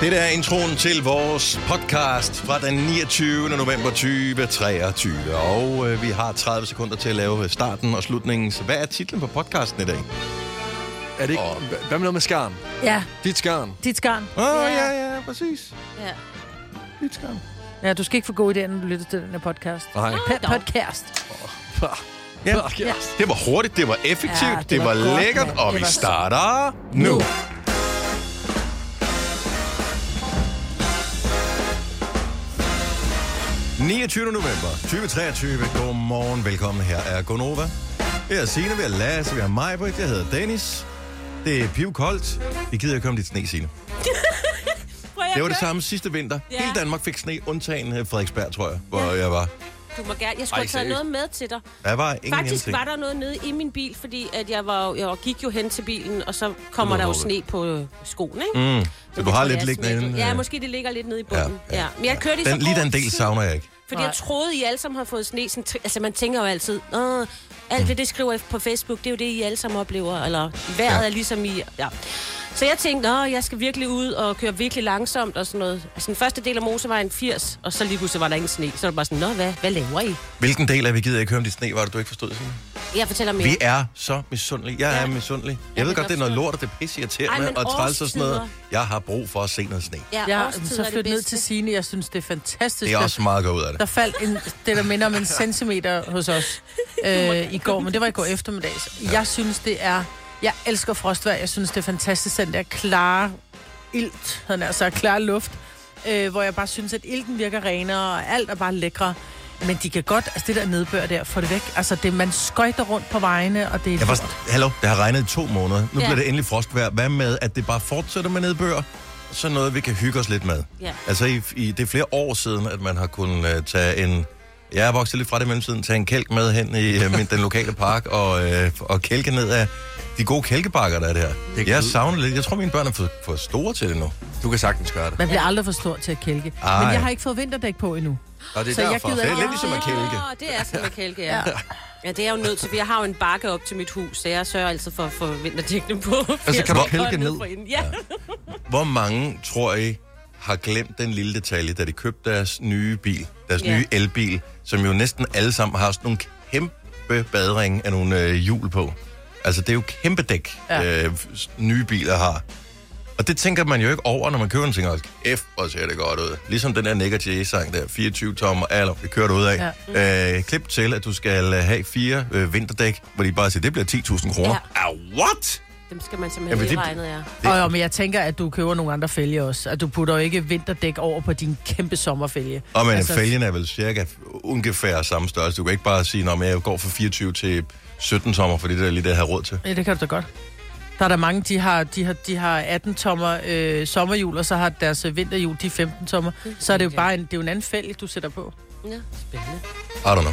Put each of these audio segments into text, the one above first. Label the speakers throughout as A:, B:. A: Det der er introen til vores podcast fra den 29. november 2023. Og øh, vi har 30 sekunder til at lave øh, starten og slutningen. Så hvad er titlen på podcasten i dag?
B: Er det ikke...
A: Åh.
B: Oh. Hvad med noget med skarn?
C: Ja,
B: Dit skarn.
C: dit skarn.
A: Åh, oh, ja. ja, ja, præcis.
D: Ja.
A: Lidt skam.
C: Ja, du skal ikke få gode idéer, når du lytter til den her podcast.
B: Nej.
C: Pa- podcast.
A: Ja.
B: Ja.
A: Det var hurtigt, det var effektivt, ja, det, det var, var
C: godt,
A: lækkert,
C: mand.
A: og
C: Det
A: vi
C: var-
A: starter nu. nu. 29. november 2023. Godmorgen, velkommen. Her er Gonova. Jeg er Signe, vi er Lasse, vi er Majbrit, jeg hedder Dennis. Det er pivkoldt. Vi gider ikke komme dit sne, Signe.
D: Prøv at
A: Det var det
D: høre.
A: samme sidste vinter.
D: Ja.
A: Hele Danmark fik sne, undtagen øh, Frederiksberg, tror jeg, hvor jeg var.
D: Du må gerne. Jeg
B: Ej,
D: skulle have taget
B: seriøst?
D: noget med til dig.
A: Der var ingen
D: Faktisk
A: ingenting.
D: var der noget nede i min bil, fordi at jeg, var, jo- jeg gik jo hen til bilen, og så kommer
A: Det
D: der
A: var
D: jo
A: hårdt.
D: sne på øh, skoen, ikke?
A: Mm, så du
D: det
A: har
D: tror
A: lidt
D: jeg
A: liggende
D: smidt
A: inde. øh.
D: ud. Ja, måske det ligger lidt nede i bunden. Ja, ja. Men jeg kørte i så
A: den, Lige
D: kort
A: den del
D: tid,
A: savner jeg ikke.
D: Fordi jeg
C: Nej.
D: troede, I alle sammen har fået sne. Sådan, t- altså, man tænker jo altid, Åh, alt det, det skriver I på Facebook, det er jo det, I alle sammen oplever. Eller vejret
A: Ja.
D: ja. er ligesom I... Ja. Så jeg tænkte, at jeg skal virkelig ud og køre virkelig langsomt og sådan noget. Altså, den første del af motorvejen 80, og så lige pludselig var der ingen sne. Så var det bare sådan, nå, hvad, hvad laver I?
A: Hvilken del af vi gider ikke høre om dit sne, var det du ikke forstod? Signe?
D: Jeg fortæller mere.
A: Vi er så misundelige. Jeg er
D: Ja.
A: misundelig.
D: Jeg
A: Jeg ved
D: kan
A: godt, det er
D: godt
A: noget
D: forstå
A: lort, og det er
D: Ej,
A: pisseirriterende
D: men
A: og træls og sådan noget.
D: årstider.
A: Jeg har brug for at se noget sne.
D: Ja,
C: Jeg har
D: årstider
C: så
D: er det
C: flyttet ned
D: bedste.
C: til Signe. Jeg synes, det er fantastisk.
A: Det er
C: at-
A: også meget godt ud af
C: Der
A: det.
C: faldt en, det, der minder om en centimeter hos os øh, i går, men det var i går eftermiddags. Jeg synes, det er... Jeg elsker frostvær. Jeg synes, det er fantastisk, den der klare ilt, han er så klar luft, øh, hvor jeg bare synes, at ilten virker renere, og alt er bare lækre. Men de kan godt, altså det der nedbør der, få det væk. Altså det, man skøjter rundt på vejene, og det er...
A: Jeg var sådan, hallo, det har regnet i to måneder. Nu
D: Ja.
A: bliver det endelig frostvejr. Hvad med, at det bare fortsætter med nedbør? Så noget, vi kan hygge os lidt med.
D: Ja.
A: Altså, i, i, det er flere år siden, at man har kunnet uh, tage en... Jeg er vokset lidt fra det i mellemtiden. Tage en kælk med hen i uh, min, den lokale park og, uh, og kælke ned af de gode kælkebakker, der er der.
B: Det er
A: Jeg
B: kul.
A: savner lidt. Jeg tror, mine børn er for, for store til det nu.
B: Du kan sagtens gøre det.
C: Man bliver aldrig for stor til at kælke.
A: Ej.
C: Men jeg har ikke fået vinterdæk på endnu.
B: Og det er
C: Så jeg
B: derfor.
C: gider
A: Det er
C: ikke-
A: lidt ligesom at kælke.
D: Åh, Ah, det er som at kælke, ja. Ja, det er jeg jo nødt til, for jeg har jo en bakke op til mit hus, så jeg sørger altid for at få vinterdækkene på.
B: Altså, kan du
D: Jeg
B: kælke
D: går
B: ned?
D: for enden. Ja.
A: Hvor mange, tror I, har glemt den lille detalje, da de købte deres nye bil, deres
D: Ja.
A: nye elbil, som jo næsten alle sammen har sådan nogle kæmpe badring af nogle øh, hjul på. Altså, det er jo kæmpe dæk, ja.
C: Ja.
A: øh, s- nye biler har. Og det tænker man jo ikke over, når man køber en ting. Og F, hvor ser det godt ud. Ligesom den der Nick Jay-sang der, 24 tommer, alder, det kører du ud af. Ja. Øh, klip til, at du skal øh, have fire øh, vinterdæk, hvor de bare siger, det bliver 10.000 kroner. Ja. Ah, what?
D: Dem skal man
A: Jamen,
D: simpelthen
A: det-
D: lige regne, ja.
A: Det-
C: Det... Og, jo, men jeg tænker, at du køber nogle andre fælge også. At du putter jo ikke vinterdæk over på din kæmpe sommerfælge.
A: Og men altså, fælgen er vel cirka ungefær samme størrelse. Du kan ikke bare sige, at jeg går fra 24 til 17 sommer, for det der lige det, jeg har råd til.
C: Ja, det kan du da godt. Der er der mange, de har, de har, de har 18 tommer øh, sommerhjul, og så har deres øh, vinterhjul, de er 15 tommer. Så er det jo bare en, det er jo en anden fælge, du sætter på.
D: ja. Spændende.
A: I don't know.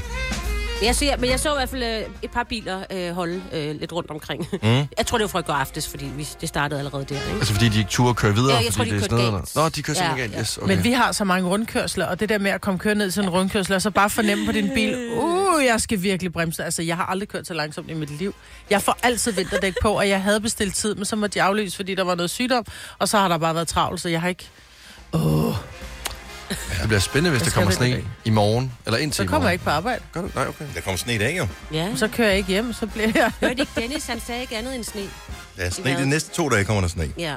D: Jeg så, men jeg så i hvert fald øh, et par biler øh, holde øh, lidt rundt omkring. Mm. Jeg tror, det var fra i går aftes, fordi vi, det startede allerede der, ikke?
B: Altså fordi de ikke turde køre videre,
D: Ja, jeg tror,
B: fordi
D: de
B: det er
D: kørte
B: sådan noget.
D: galt.
B: Nå, de kører simpelthen
D: Ja,
B: galt.
D: ja.
B: Yes, okay.
C: Okay. Men vi har så mange rundkørsler, og det der med at komme kørende ned til en rundkørsel, og så bare fornemme på din bil, uh, jeg skal virkelig bremse. Altså, jeg har aldrig kørt så langsomt i mit liv. Jeg får altid vinterdæk på, og jeg havde bestilt tid, men så måtte jeg aflyse, fordi der var noget sygdom, og så har der bare været travlt, så jeg har ikke...
B: Det bliver spændende, hvis
C: Jeg
B: der
C: skal
B: kommer
C: have det
B: sne i morgen. Eller indtil
C: Så
B: i
C: kommer jeg
B: morgen.
C: ikke på arbejde.
B: Gør du? Nej, okay.
A: Der kommer sne i dag jo.
D: Ja. Så
C: Så kører jeg ikke hjem, så bliver jeg...
D: hørte ikke Dennis, han sagde ikke andet end sne.
A: Der er sne
D: Ja.
A: de næste to dage, kommer der sne.
D: Ja.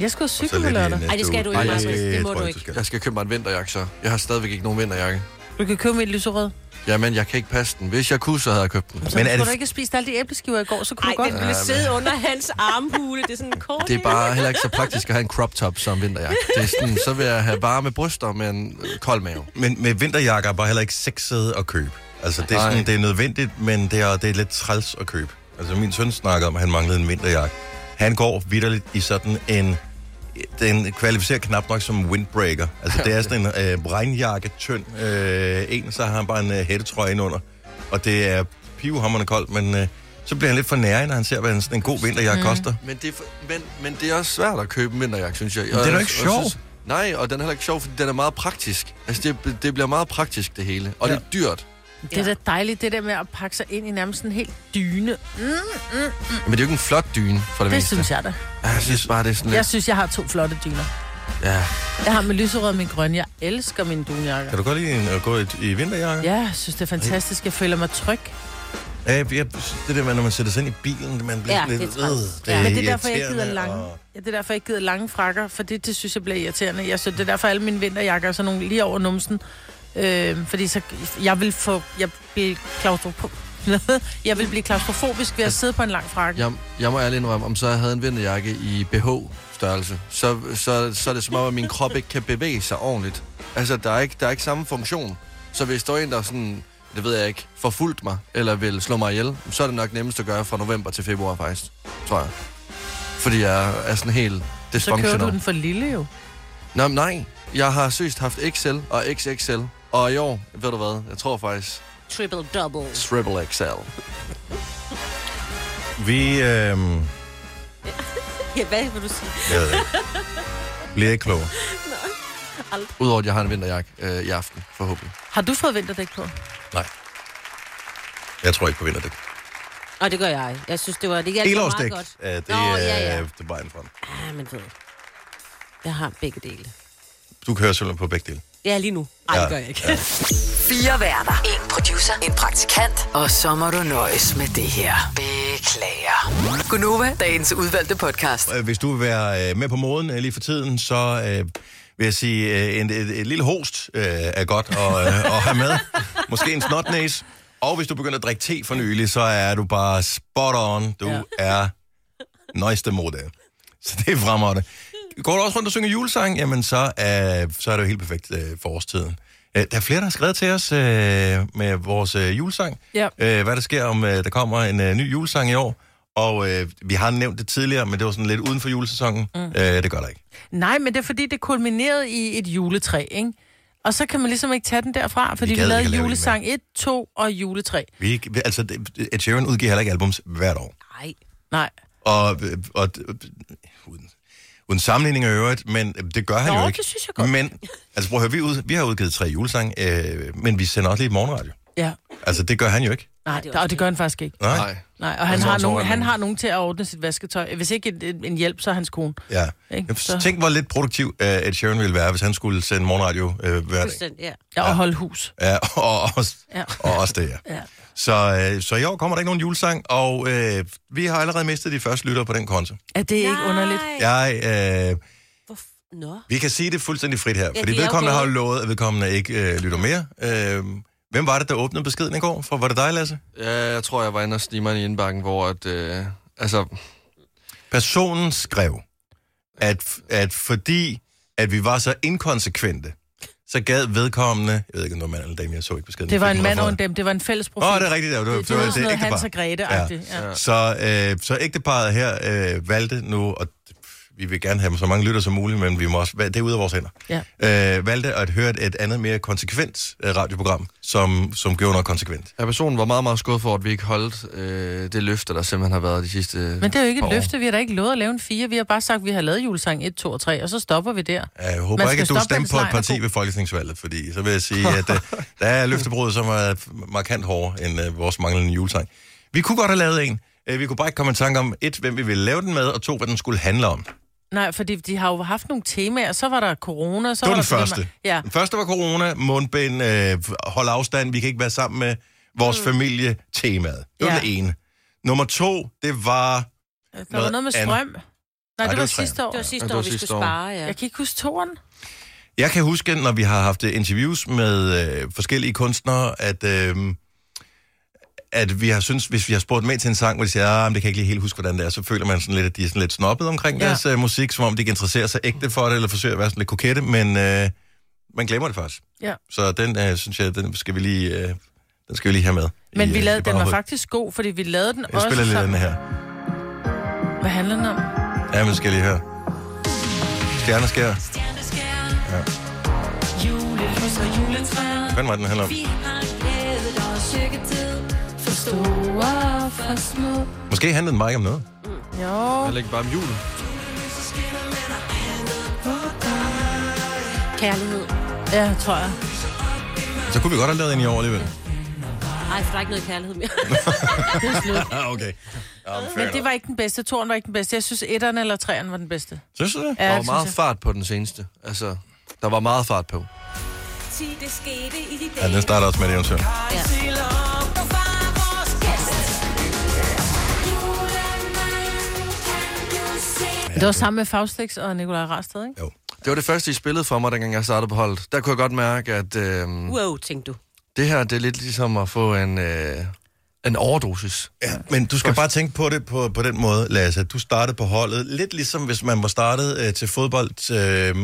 C: Jeg skal jo
A: Og så
C: cykle
A: lidt
C: på
A: i
C: lørdag.
A: næste
D: Ej, det skal
A: uge.
D: du ikke,
A: Nej,
D: Marcus. Det
A: jeg
D: må
A: tror
D: du
A: skal.
B: Jeg skal købe mig en vinterjakke, så. Jeg har stadigvæk ikke nogen vinterjakke.
C: Du kan købe mit lyserød.
B: Jamen, jeg kan ikke passe den. Hvis jeg kunne, så havde jeg købt den.
C: Så
A: Men
C: men
A: er
C: er
A: det-
C: du ikke spise alle de æbleskiver i går, så kunne
D: Ej,
C: Ej, du godt...
D: den ville sidde under hans armhule. Det er sådan en kort...
B: Det er bare heller ikke så praktisk at have en crop top som vinterjakke. Det er sådan, så vil jeg have varme bryster med en øh, kold mave.
A: Men med vinterjakker er bare heller ikke sexet at købe. Altså, det er,
B: Nej.
A: sådan, det er nødvendigt, men det er, det er lidt træls at købe. Altså, min søn snakker om, at han manglede en vinterjakke. Han går vidderligt i sådan en... Den kvalificerer knap nok som windbreaker. Altså, det er sådan en øh, regnjakke, tynd øh, en, så har han bare en øh, hættetrøje indenunder. Og det er pivhammerne koldt, men øh, så bliver han lidt for nærig, når han ser, hvad en, sådan en god vinterjakke mm. koster.
B: Men det, er, for- men, men det er også svært at købe en vinterjakke, synes jeg.
A: er
B: Og-
A: da ikke
B: og
A: sjov.
B: synes- Nej, og den er heller ikke sjov, fordi den er meget praktisk. Altså, det, det bliver meget praktisk, det hele. Og ja. det er dyrt.
C: Det er da dejligt, det der med at pakke sig ind i nærmest en helt dyne. Mm,
B: Men det er jo ikke en flot dyne, for det,
C: Det
B: meste.
C: synes jeg da.
B: Ja, Jeg synes bare, det er sådan
C: Jeg
B: lidt...
C: synes, jeg har to flotte dyner.
B: Ja.
C: Jeg har min lyserød og min grønne. Jeg elsker mine dunjakker.
A: Kan du godt lide en, at gå i, i vinterjakke?
C: Ja, jeg synes, det er fantastisk. Jeg føler mig tryg.
A: Ja. Jeg, jeg, det der med, når man sætter sig ind i bilen, man bliver
D: Ja,
A: lidt...
D: det er træls.
A: øh,
D: Ja.
C: Men det er derfor, jeg ikke
A: irriterende,
C: gider lange,
A: og-
C: ja, det er derfor, jeg ikke gider lange frakker, for det, det synes jeg bliver irriterende. Jeg synes, det er derfor, alle mine vinterjakker er sådan nogle lige over numsen. Øh, fordi så, jeg vil få, jeg bliver klaustrofob. jeg vil blive klaustrofobisk
A: Altså-
C: ved at sidde på en lang frakke.
B: Jeg, jeg må ærligt indrømme, om så jeg havde en vinterjakke i BH-størrelse, så, så, så er det som om, at min krop ikke kan bevæge sig ordentligt. Altså, der er ikke, der er ikke samme funktion. Så hvis der er en, der sådan, det ved jeg ikke, forfulgt mig, eller vil slå mig ihjel, så er det nok nemmest at gøre fra november til februar faktisk, tror jeg. Fordi jeg er sådan helt
C: Så kører du den
B: dysfunctional.
C: for lille jo.
B: Nå, men nej, jeg har søst haft XL og XXL, og i år, ved du hvad, jeg tror faktisk,
D: Triple double.
B: triple XL.
A: Vi... Øh,
D: Ja, hvad vil du sige?
A: jeg ved det ikke. Bliver ikke klogere.
B: Udover at jeg har en vinterjakke øh, i aften, forhåbentlig.
C: Har du fået vinterdæk på?
A: Nej. Jeg tror ikke på vinterdæk.
D: Og det gør jeg. Jeg synes, det var det hjalp mig meget
A: Helårsdæk,
D: godt.
A: ja, det,
D: Nå, ja, ja.
A: øh, det er vejen frem.
D: Ah, men ved. Jeg har begge dele.
A: Du kører selv på begge dele.
D: Ja, lige nu. Ej, ja.
A: Ja,
D: det gør jeg ikke. Ja.
E: Fire værter. En producer. En praktikant. Og så må du nøjes med det her. Beklager. Gunova, dagens udvalgte podcast.
A: Øh, Hvis du vil være øh, med på moden øh, lige for tiden, så øh, vil jeg sige, øh, en, et, et lille host øh, er godt at, øh, at have med. Måske en snotnæs. Og hvis du begynder at drikke te for nylig, så er du bare spot on. Du ja.
C: Ja.
A: er nøjeste mode. Så det er fremragende. Går du også rundt og synger julesang, jamen så, øh, så er det jo helt perfekt øh, for årstiden. Øh, der er flere, der har skrevet til os øh, med vores øh, julesang.
C: Ja.
A: øh, hvad der sker, om øh, der kommer en øh, ny julesang i år. Og øh, vi har nævnt det tidligere, men det var sådan lidt uden for julesæsonen. Mm. Øh, det gør der ikke.
C: Nej, men det er fordi, det kulminerede i et juletræ, ikke? Og så kan man ligesom ikke tage den derfra, fordi vi,
A: gad ikke
C: lavede
A: at lave en
C: julesang 1, 2 og juletræ.
A: Vi, ikke- vi- altså, det- Ed Sheeran udgiver heller ikke albums hvert år.
D: Nej.
C: Nej.
A: Og, øh, og øh, uden, uden sammenligning i øvrigt, men øh, det gør han
D: Nå,
A: jo ikke.
D: det synes jeg godt.
A: Men, altså prøv at høre, vi, ud, vi har udgivet tre julesange, øh, men vi sender også lidt morgenradio.
C: Ja.
A: Altså, det gør han jo ikke.
C: Nej,
D: det er
C: det
D: også
C: og det gør han faktisk ikke.
A: Nej.
B: Nej.
C: Nej, og han,
B: så
C: har
B: også
C: nogen,
B: over
C: han
B: nogen.
C: har nogen til at ordne sit vasketøj. Hvis ikke en, en- en hjælp, så er hans kone.
A: Ja.
C: Ikke?
A: Ikke,
C: Så-
A: Tænk, hvor lidt produktiv øh, Ed Sheeran ville være, hvis han skulle sende morgenradio øh, hver dag.
D: Fuldstændig, ja.
C: Ja, og holde hus.
A: Ja, og, også, ja.
C: Ja.
A: og også det, ja. ja.
C: Ja.
A: Så, øh, så i år kommer der ikke nogen julesang, og øh, vi har allerede mistet de første lyttere på den konto.
C: Er det ikke underligt?
A: Jeg, øh,
D: Hvorf- Nå.
A: vi kan sige det fuldstændig frit her,
D: Ja,
A: fordi
D: det er
A: vedkommende
D: okay.
A: har jo lovet, at vedkommende ikke øh, lytter mere. Øh, hvem var det, der åbnede beskeden i går? For, var det dig, Lasse?
B: Ja, jeg tror, jeg var inde og snige mig i indbakken, hvor at, øh, altså,
A: Personen skrev, at, at fordi at vi var så inkonsekvente, så gad vedkommende... Jeg ved ikke, om det var mand eller dame, jeg så ikke beskeden.
C: Det var
A: Fik
C: en
A: den
C: mand og
A: derfra.
C: en dem. Det var en fælles profil.
A: Åh, det er rigtigt. Det var, det, var,
C: det, det, var sådan noget
A: ægtepar.
C: Hans og Grete. Ja.
A: Så,
C: Ja.
A: øh, så ægteparet her øh, valgte nu, og vi vil gerne have så mange lytter som muligt, men vi må også, det er ude af vores hænder, øh, valgte at høre et, et andet mere konsekvent øh, radioprogram, som, som gjorde noget konsekvent.
B: ja, personen var meget, meget skuffet for, at vi ikke holdt øh, det løfte, der simpelthen har været de sidste
C: Men det er jo ikke
B: par
C: et
B: år.
C: løfte. Vi har da ikke lovet at lave en fire. Vi har bare sagt, at vi har lavet julesang 1, 2 og 3, og så stopper vi der.
A: Jeg
C: Man
A: håber
C: skal
A: ikke, at du
C: stoppe den
A: stemte på et
C: snegl,
A: parti
C: Bo.
A: ved folketingsvalget, fordi så vil jeg sige, at øh, der er løftebrud, som er markant hårdere end øh, vores manglende julesang. Vi kunne godt have lavet en. Øh, Vi kunne bare ikke komme i tanke om, et, hvem vi ville lave den med, og to, hvad den skulle handle om.
C: Nej, fordi de har jo haft nogle temaer. Så var der corona. Så
A: Det var den
C: var der
A: første.
C: Ja.
A: Den første var corona, mundbind, øh, hold afstand, vi kan ikke være sammen med vores mm. familie, temaet. Det var ja.
C: Ja.
A: den ene. Nummer to, det var...
C: Der var noget med
A: andet.
C: strøm. Nej, det var sidste år.
D: Det var sidste
B: Ja, det
D: år,
B: var
D: vi
B: sidste
D: skulle
B: år.
D: spare, ja.
C: Jeg kan ikke huske toren.
A: Jeg kan huske, når vi har haft øh, interviews med øh, forskellige kunstnere, at, øh, at vi har synes, hvis vi har spurgt med til en sang, hvor de siger, at det kan jeg ikke lige helt huske, hvordan det er, så føler man sådan lidt, at de er sådan lidt snobbet omkring ja.
C: Ja.
A: deres øh, musik, som om de ikke interesserer sig ægte for det, eller forsøger at være sådan lidt kokette, men øh, man glemmer det faktisk.
C: Ja.
A: Så den, øh, synes jeg, den skal vi lige, øh, den skal vi lige have med.
C: Men
A: i,
C: vi
A: øh,
C: lavede,
A: i
C: den var
A: baghovedet.
C: faktisk god, fordi vi lavede den
A: Jeg
C: også
A: spiller lidt af den
C: sammen.
A: her.
C: Hvad handler den om?
A: Ja, men skal jeg lige høre. Stjerneskær.
F: Julelys og juletræer
A: Hvad var den handler om?
F: Vi har glædet og sikke tid For store og for små
A: Måske handlede den bare ikke om noget.
C: Jo.
B: Eller ikke bare om julen.
D: Kærlighed.
C: Ja, tror jeg.
A: Så kunne vi godt have lavet en i år alligevel.
D: Ej, for der er ikke noget kærlighed mere.
A: Ah, okay. Ja, men fair
C: Men det
A: nok.
C: var ikke den bedste. Toren var ikke den bedste. Jeg synes, etteren eller treeren var den bedste.
A: Synes du det?
C: Ja,
B: der var
C: det
B: meget
C: synes
B: fart på den seneste. Altså, der var meget fart på.
G: Ti, det skete i de
A: Ja, den starter også med et eventyr.
C: Det var sammen med Faustix og Nikolaj Rasted, ikke?
B: Det var det første, I spillede for mig, dengang jeg startede på holdet. Der kunne jeg godt mærke, at øh,
C: Uh.
D: Wow, tænkte du.
B: det her, det er lidt ligesom at få en, øh, en overdosis.
A: Ja, men du skal bare tænke på det på, på den måde, Lasse. at Du startede på holdet, lidt ligesom hvis man var startet øh, til fodbold øh,
C: Der, hvor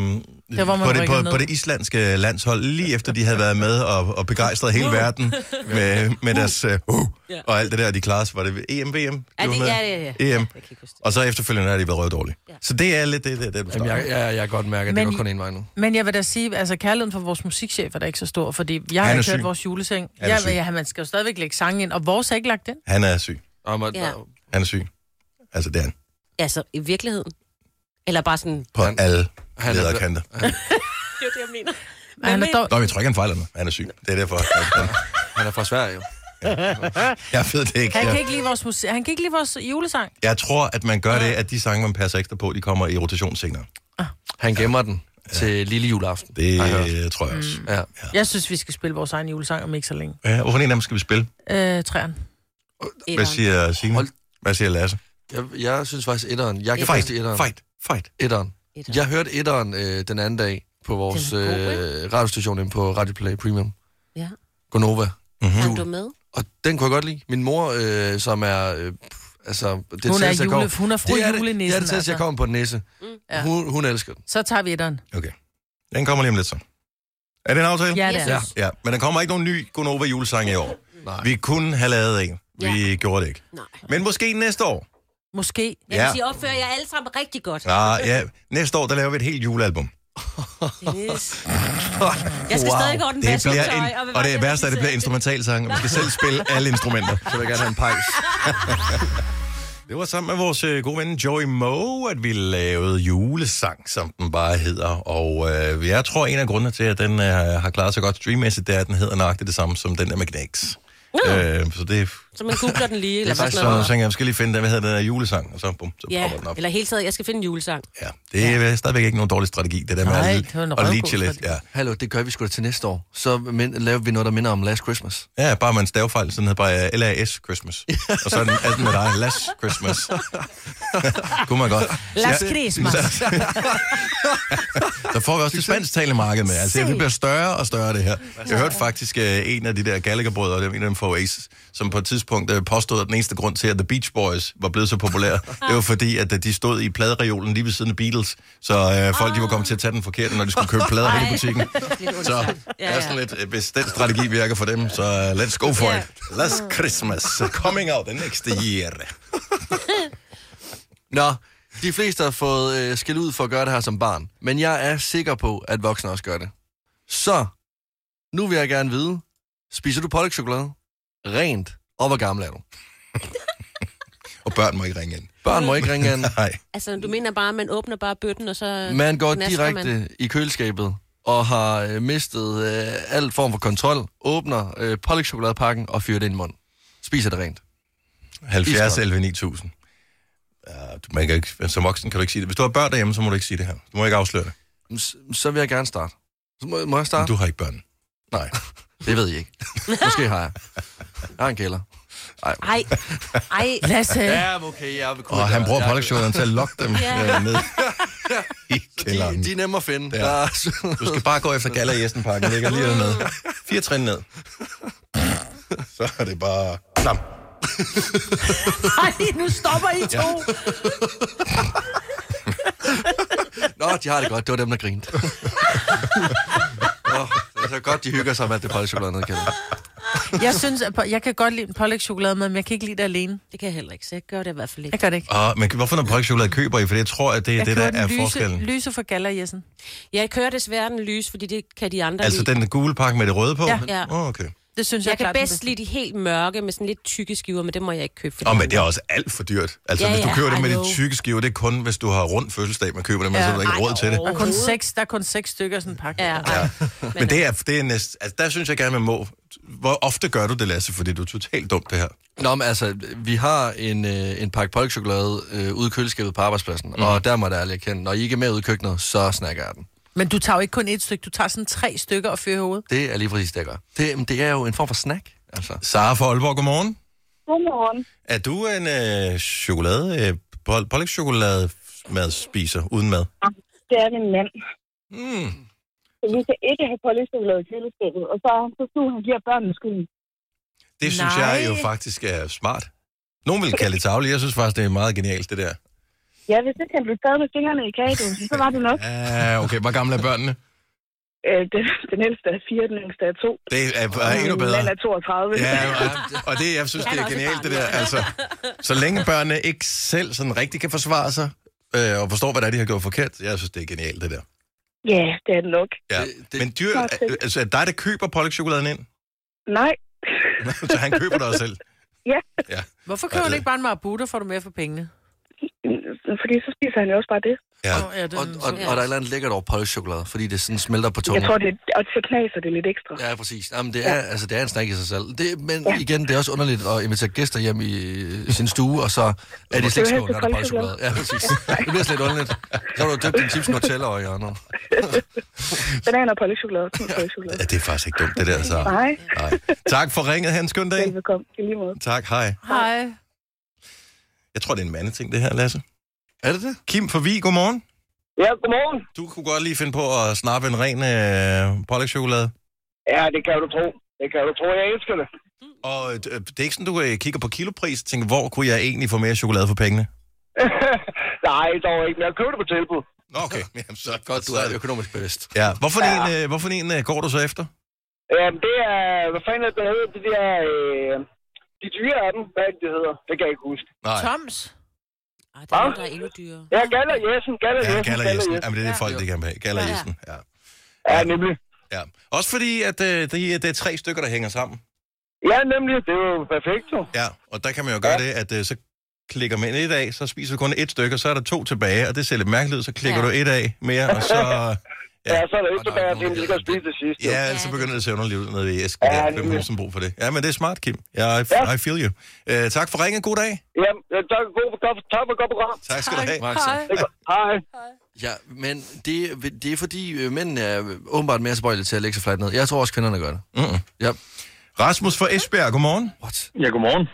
C: man
A: på, det,
C: rykkede
A: på,
C: ned.
A: på det islandske landshold, lige efter de havde været med og, og begejstret hele verden med, med deres øh, uh,
D: Ja.
A: og alt det der, de klarede sig. Var det E EM, VM? de
D: Ja,
A: var
D: det,
A: med?
D: ja, ja, ja.
A: EM.
D: Jeg kan ikke huske det.
A: Og så efterfølgende har de været røvdårlige. Ja. Så det er lidt det, det, det du
B: Jamen,
A: starter.
B: jeg, jeg, jeg kan godt mærke, at
C: Men-
B: det går kun en vej nu.
C: Men jeg vil da sige, altså kærligheden for vores musikchef er da ikke så stor, fordi jeg har
A: Han er
C: ikke hørt
A: syg.
C: vores juleseng.
A: er
C: Ja,
A: syg.
C: men ja, man skal jo stadigvæk lægge sangen ind, og vores er ikke lagt ind.
A: Han er syg.
B: Og man,
D: Ja.
B: ja.
A: Han er syg. Altså, det er han.
D: Altså, i virkeligheden. Eller bare sådan...
A: På
B: Han-
A: alle
B: han er bla-
A: lederkanter.
D: Det er det, jeg mener.
C: Men han er dog...
A: Nå, jeg tror ikke, han fejler noget. Han er syg. Det er derfor. Han,
B: Han er fra Sverige jo.
A: jeg ved det ikke.
C: Han
A: Jeg-
C: kan ikke lide vores, musik... han kan ikke lide vores julesang.
A: Jeg tror, at man gør det, at de sange, man passer ekstra på, de kommer i rotation senere.
C: Ah.
B: Han gemmer den til lille juleaften.
A: Det
B: har jeg hørt.
A: øh, tror jeg også.
C: Mm.
B: Ja.
C: Jeg synes, vi skal spille vores egen julesang om ikke så længe.
A: Ja, hvorfor en af dem skal vi spille?
C: Øh, træerne.
A: Hvad
D: Etteren.
A: siger Signe?
B: Hold-
A: Hvad siger Lasse?
B: Jeg, jeg synes faktisk etteren. Jeg kan
A: Fight,
B: faktisk etteren.
A: fight, fight.
B: Etteren.
D: Etteren.
B: Jeg hørte etteren øh, den anden dag på vores
D: Den er god, ikke?
B: øh, radiostation inde på Radio Play Premium.
D: Ja.
B: Gonova.
A: Mhm.
D: Kom du med?
B: Og den kunne jeg godt lide. Min mor, øh, som er... Øh, pff, altså, det
C: Hun er,
B: tætteste, jeg
C: jule...
B: kommer-
C: hun er fru
B: det er det,
C: julenissen.
B: det er det tætteste, jeg
C: altså.
B: kommer på en næse.
C: Ja.
B: Hun, hun elsker den.
C: Så tager vi etteren.
A: Okay. Den kommer lige om lidt så. Er det en aftale?
C: Ja,
D: Jeg
C: det er.
B: Ja.
D: synes-
A: Ja, men der kommer ikke nogen ny Gonova julesang i år.
B: Nej.
A: Vi kunne have lavet en. Vi gjorde det ikke.
D: Nej.
A: Men måske næste år.
C: Måske.
D: Jeg vil sige, opfører jeg alle sammen rigtig godt.
A: Ah, ja. Næste år, der laver vi et helt julealbum.
D: Yes. Jeg skal stadig over den
A: Det
D: bedste
A: bliver
D: tøj,
A: en,
D: vil
A: og
D: bare
A: det er
D: gerne
A: værst, at det
D: vise-
A: bliver instrumentalsange. Man skal selv spille alle instrumenter.
B: Så vil jeg gerne have en pejs.
A: Det var sammen med vores øh, gode ven Joey Moe, at vi lavede julesang, som den bare hedder. Og øh, jeg tror, en af grundene til, at den øh, har klaret sig godt streammæssigt, det er, at den hedder nøjagtigt det samme som den der med Knæks. Øh, så det er
D: Så man googler den lige.
A: det
D: Eller
A: er
D: sådan
A: faktisk sådan noget,
D: noget.
A: så jeg skal lige finde den, hvad hedder den der julesang, og så, bum, så
D: Ja,
A: popper den op.
D: eller hele taget, jeg skal finde en julesang.
A: Ja, det er øh, stadigvæk ikke nogen dårlig strategi, det der med
C: Nej,
A: at-
C: det var en
A: at
C: røvgod
A: lige chille lidt. Ja.
C: strategi.
B: Hallo, det gør vi sgu da til næste år. Så men, laver vi noget, der minder om Last Christmas.
A: ja, bare med en stavefejl, sådan hedder bare øh, L-A-S Christmas. og så er den, er den med dig, Las Christmas. Kunne man godt.
C: Lars Grismas.
A: Der får vi også det spansktalende marked med. Altså, det bliver større og større, det her. Jeg hørte faktisk øh, en af de der Gallagher-brødre, det var en af dem fra Oasis, som på et tidspunkt øh, påstod, at den eneste grund til, at The Beach Boys var blevet så populære, det var fordi, at øh, de stod i pladereolen lige ved siden af Beatles, så øh, folk de var kommet til at tage den forkerte, når de skulle købe plader hen i butikken. Så det er sådan lidt, øh, hvis den strategi virker for dem, så øh, let's go for
D: Ja.
A: it. Last Christmas coming out the next year.
B: Nå, de fleste har fået øh, skæld ud for at gøre det her som barn. Men jeg er sikker på, at voksne også gør det. Så, nu vil jeg gerne vide, spiser du pålægtschokolade? Rent. Og hvor gammel er du?
A: Og børn må ikke ringe ind.
B: Børn må ikke ringe an.
A: Nej.
D: Altså, du mener bare, at man åbner bare bøtten, og så...
B: Man går
D: Knasker man.
B: direkte i køleskabet og har øh, mistet øh, al form for kontrol, åbner øh, pålægtschokoladepakken og fyrer det ind i munden. Spiser det rent.
A: 70
B: Iskoldt.
A: 11 9000. Ja, du, man kan ikke, som voksen kan du ikke sige det. Hvis du har børn derhjemme, så må du ikke sige det her. Du må ikke afsløre det.
B: Så, så vil jeg gerne starte. Så må, må jeg
A: Men
B: starte?
A: Du har ikke børn. Nej.
B: Det ved jeg ikke. Måske har jeg. Jeg har en kælder.
D: Ej, ej.
C: Lasse.
B: Ja, okay, jeg vil kunne.
A: Og han bruger pålægsjorderen til at lokke dem
D: Ja.
A: øh, ned i kælderen.
B: De, de er nemme at finde.
A: Ja.
B: Ja. Der er sådan-
A: Du skal bare gå efter Galla i pakken ligger lige dernede. Fire trin ned. Så er det bare... Klam.
C: Ej, nu stopper I to.
B: Nå, de har det godt. Det var dem, der grinte. Nå, det er så godt, de hygger sig med, at det er pålægschokolade nede i kælderen.
C: Jeg synes, at på- jeg kan godt lide en pålægtschokolade med, men jeg kan ikke lide det alene.
D: Det kan jeg heller ikke, så jeg gør det i hvert fald ikke.
C: Jeg gør det ikke.
A: Og, Ah, men hvorfor noget pålægschokolade køber I? For jeg tror, at det er
C: Jeg
A: det, der
C: kører
A: er
C: den lyse,
A: forskellen.
C: lyse for galler, Jessen.
D: Jeg kører desværre den lys, fordi det kan de andre
A: Altså
D: lide.
A: den gule pakke med det røde på?
C: Ja.
A: Men-
D: Ja.
A: Åh, okay.
C: Det synes jeg,
D: Jeg
C: er
D: kan
C: klart den
D: bedst
C: bedste.
D: lide de helt mørke med sådan lidt tykke skiver, men det må jeg ikke købe.
A: Åh, men det er også alt for dyrt. Altså,
D: Ja,
A: hvis du
D: ja,
A: køber det
D: I
A: med de
D: know.
A: tykke skiver, det er kun, hvis du har rundt fødselsdag, man køber det med, så
C: Ja.
A: er der ikke
D: Ej,
A: råd til det.
C: Der er kun seks, der er kun seks stykker i sådan en pakke.
D: Ja, ej.
A: Men det er, det er næst, altså der synes jeg gerne, man må hvor ofte gør du det, Lasse? Fordi du er totalt dumt, det her.
B: Nå, men altså, vi har en, øh, en pakke polkchokolade øh, ude i køleskabet på arbejdspladsen, mm. og der må der ærligt kende, når I ikke er med ude i køkkenet, så snakker jeg den.
C: Men du tager jo ikke kun et stykke, du tager sådan tre stykker og fyrer i hovedet.
B: Det er lige præcis det, jeg gør. Det, men det er jo en form for snack, altså.
A: Sara fra Aalborg, godmorgen.
H: Godmorgen.
A: Er du en øh, chokolade, øh, pol- pålægschokolade madspiser uden mad?
H: Det er min mand.
A: Mm.
H: Så vi kan ikke have pålægtschokolade i køleskabet. Og så, så skulle han give børnene skylden.
A: Det synes
C: Nej.
A: jeg jo faktisk er smart. Nogen vil kalde det tavle. Jeg synes faktisk, det er meget genialt, det der.
H: Ja, hvis ikke han blev taget med fingrene i kagedåsen, så var det nok.
A: Ja, okay. Hvor gamle er børnene?
H: Øh, den, den ældste er fire, den yngste er to.
A: Det er, øh, er endnu
I: Mm,
H: Min
A: bedre.
H: mand er 32.
A: Ja, og, og det, jeg synes, det er genialt, det der. Altså, så længe børnene ikke selv sådan rigtig kan forsvare sig, øh, og forstår, hvad det er, de har gjort forkert, jeg synes, det er genialt, det der.
H: ja det er det nok.
A: Ja.
B: Det- det-
A: Men dyr,
H: Perfekt.
A: altså, er det dig, der køber pålægschokoladen ind?
H: Nej,
A: så han køber det også selv?
H: Ja.
A: ja.
C: Hvorfor køber
A: Ja,
C: du
A: det-
C: ikke bare en marabu, der får du mere for pengene?
H: fordi så spiser han jo også bare det.
A: Ja.
C: Åh, ja, det er
B: Og,
C: en-
B: og, og der er et eller andet lækkert over pålægschokolade, fordi det sådan smelter på
H: Jeg
B: tungen.
H: tror, det, og så knaser det lidt ekstra.
B: Ja, præcis. Jamen, det er, ja. altså, det er en snak i sig selv. Det, men ja. igen, det er også underligt at invitere gæster hjem i, øh, sin stue, og så er de slet
H: helst
B: ikke der er
H: koldt
B: pålægschokolade. Ja, præcis. Det bliver slet lidt underligt. Så har du døbt din chips Nutella og hjørnet.
H: Banan og pålægtschokolade. Kun pålægtschokolade.
A: ja, det er faktisk ikke dumt, det der, så.
H: Nej,
A: Nej. Tak for ringet, Hans. Skøn dag.
H: velbekomme. I lige måde.
A: Tak, hej.
C: Hej.
A: Jeg tror, det er en mandeting, det her, Lasse.
B: Er det det?
A: Kim fra Vig, godmorgen.
J: Ja, godmorgen.
A: Du kunne godt lige finde på at snappe en ren øh, pålægschokolade.
J: Ja, det kan du tro. Det kan du tro, jeg elsker det.
A: Og øh, det er ikke sådan, du øh, kigger på kilopris og tænker, hvor kunne jeg egentlig få mere chokolade for pengene?
J: Nej, dog ikke, men jeg køber det på tilbud.
A: Nå, okay. Jamen, så
B: Godt, du er økonomisk bevidst.
A: Ja. Hvorfor en, øh, hvorfor en øh, går du så efter?
J: Jamen, det er... Hvad fanden er det, der hedder? Det der... Øh, de dyre af dem, hvad er det, det hedder? Det kan jeg ikke huske.
A: Nej.
C: Toms.
D: Ej, det er noget, der er endnu dyrere.
J: Ja, Galler Jessen, Galler
A: Ja,
J: Jessen, Galler Jessen.
A: gallerjessen. Jamen, det er det folk, det kan have. Gallerjessen, ja.
J: Ja, nemlig.
A: ja. Også fordi, at øh, det, er- det er tre stykker, der hænger sammen.
J: Ja, nemlig. Det er jo perfekt, jo.
A: Ja, og der kan man jo gøre det, at øh, så klikker man et af, så spiser du kun et stykke, og så er der to tilbage, og det ser lidt mærkeligt ud, så klikker
D: Ja.
A: du et af mere, og så... Ja.
J: Ja, så er det
B: Og
J: ikke
B: der
J: tilbage,
B: er nogen,
J: at
B: der altså-
J: de skal spise det sidste. jo.
A: Ja, så begynder det at se underligt ud nede i æsken.
J: Ja,
A: Ja,
J: det
A: Hvem har
J: er-
A: sådan brug for det? Ja, men det er smart, Kim. Jeg,
J: Ja.
A: I feel you. Øh, tak for ringen. God dag.
J: Jamen, jeg tager god for godt, tak for godt program.
A: Tak skal du have.
B: Max, så.
J: Det er godt. Hej.
B: Ja, men det, det er fordi, øh, mændene er øh, åbenbart mere spøjlige til at lægge sig fladt ned. Jeg tror også, kvinderne gør det.
A: Mm-mm.
B: Ja.
A: Rasmus fra Esbjerg, godmorgen.
B: What?
J: Ja, godmorgen.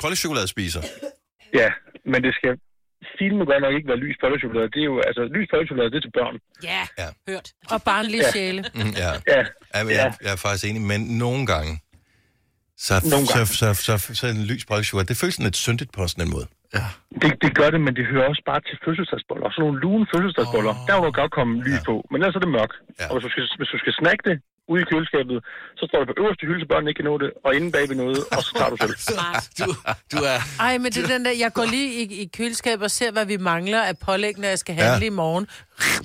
A: Koldchokoladespiser.
J: Ja, men det skal filmen godt nok ikke være lys pølsechokolade. Det er jo, altså, lys pølsechokolade, det er til børn.
D: Ja,
A: Ja.
D: hørt.
C: Og barnlige sjæle.
A: Mm, ja.
J: Ja,
A: Ja, men jeg, jeg er faktisk enig, men nogle gange, så,
J: Nogle gange.
A: så, så, så, så, så en lys polkchokolade, det føles sådan lidt syndigt på sådan en måde.
J: det, det gør det, men det hører også bare til fødselsdagsboller. Sådan nogle lune fødselsdagsboller, oh. der må du godt komme lys på, men ellers er det mørk.
A: Ja.
J: Ja. Og hvis du, skal, hvis du skal snakke det ude i køleskabet, så står det på øverste hylde, så børnene ikke kan nå det, og inde bag ved noget, og så tager du selv.
D: Smart.
B: Du, du er...
C: Ej, men det er den der, jeg går lige i, i køleskabet og ser, hvad vi mangler af pålæg, når jeg skal handle
A: Ja.
C: ja. i morgen.
B: Ja,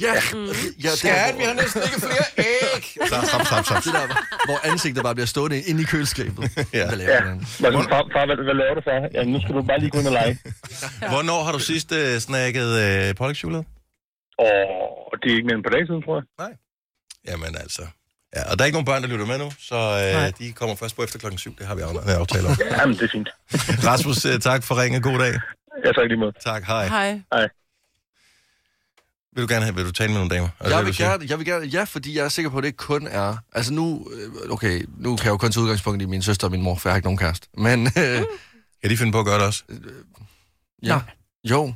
B: ja det, er, hvor,
A: næsten ikke flere æg! Så, stop, stop, stop.
B: det der, hvor ansigtet bare bliver stående inde i køleskabet.
A: Ja.
B: Hvad
J: Ja,
B: laver den?
J: men sådan, far, far hvad, hvad, laver du far? Jamen, nu skal du bare lige gå ind og lege.
A: Hvornår har du sidst øh, snakket øh, polkchokolade?
J: Og det er ikke mere end på dag siden, tror jeg.
A: Jamen altså. Ja, og der er ikke nogen børn, der lytter med nu, så
C: Nej.
A: øh, de kommer først på efter klokken syv. Det har vi afla- øh, aftalt om.
J: Jamen, det er fint.
A: Rasmus, øh, tak for ringen. God dag.
J: Jeg tager ikke lige med.
A: Tak, hej. hej.
C: Hej.
A: Vil du gerne have, Altså, vil du tale med nogle damer? Er det det,
B: Jeg
A: du
B: vil,
A: siger?
B: gerne, jeg vil gerne, ja, fordi jeg er sikker på, at det ikke kun er... Altså nu, øh, okay, nu kan jeg jo kun tage udgangspunkt i min søster og min mor, for jeg har ikke nogen kæreste. Men, øh,
A: Mm. Kan de finde på at gøre det også?
B: ja, jo,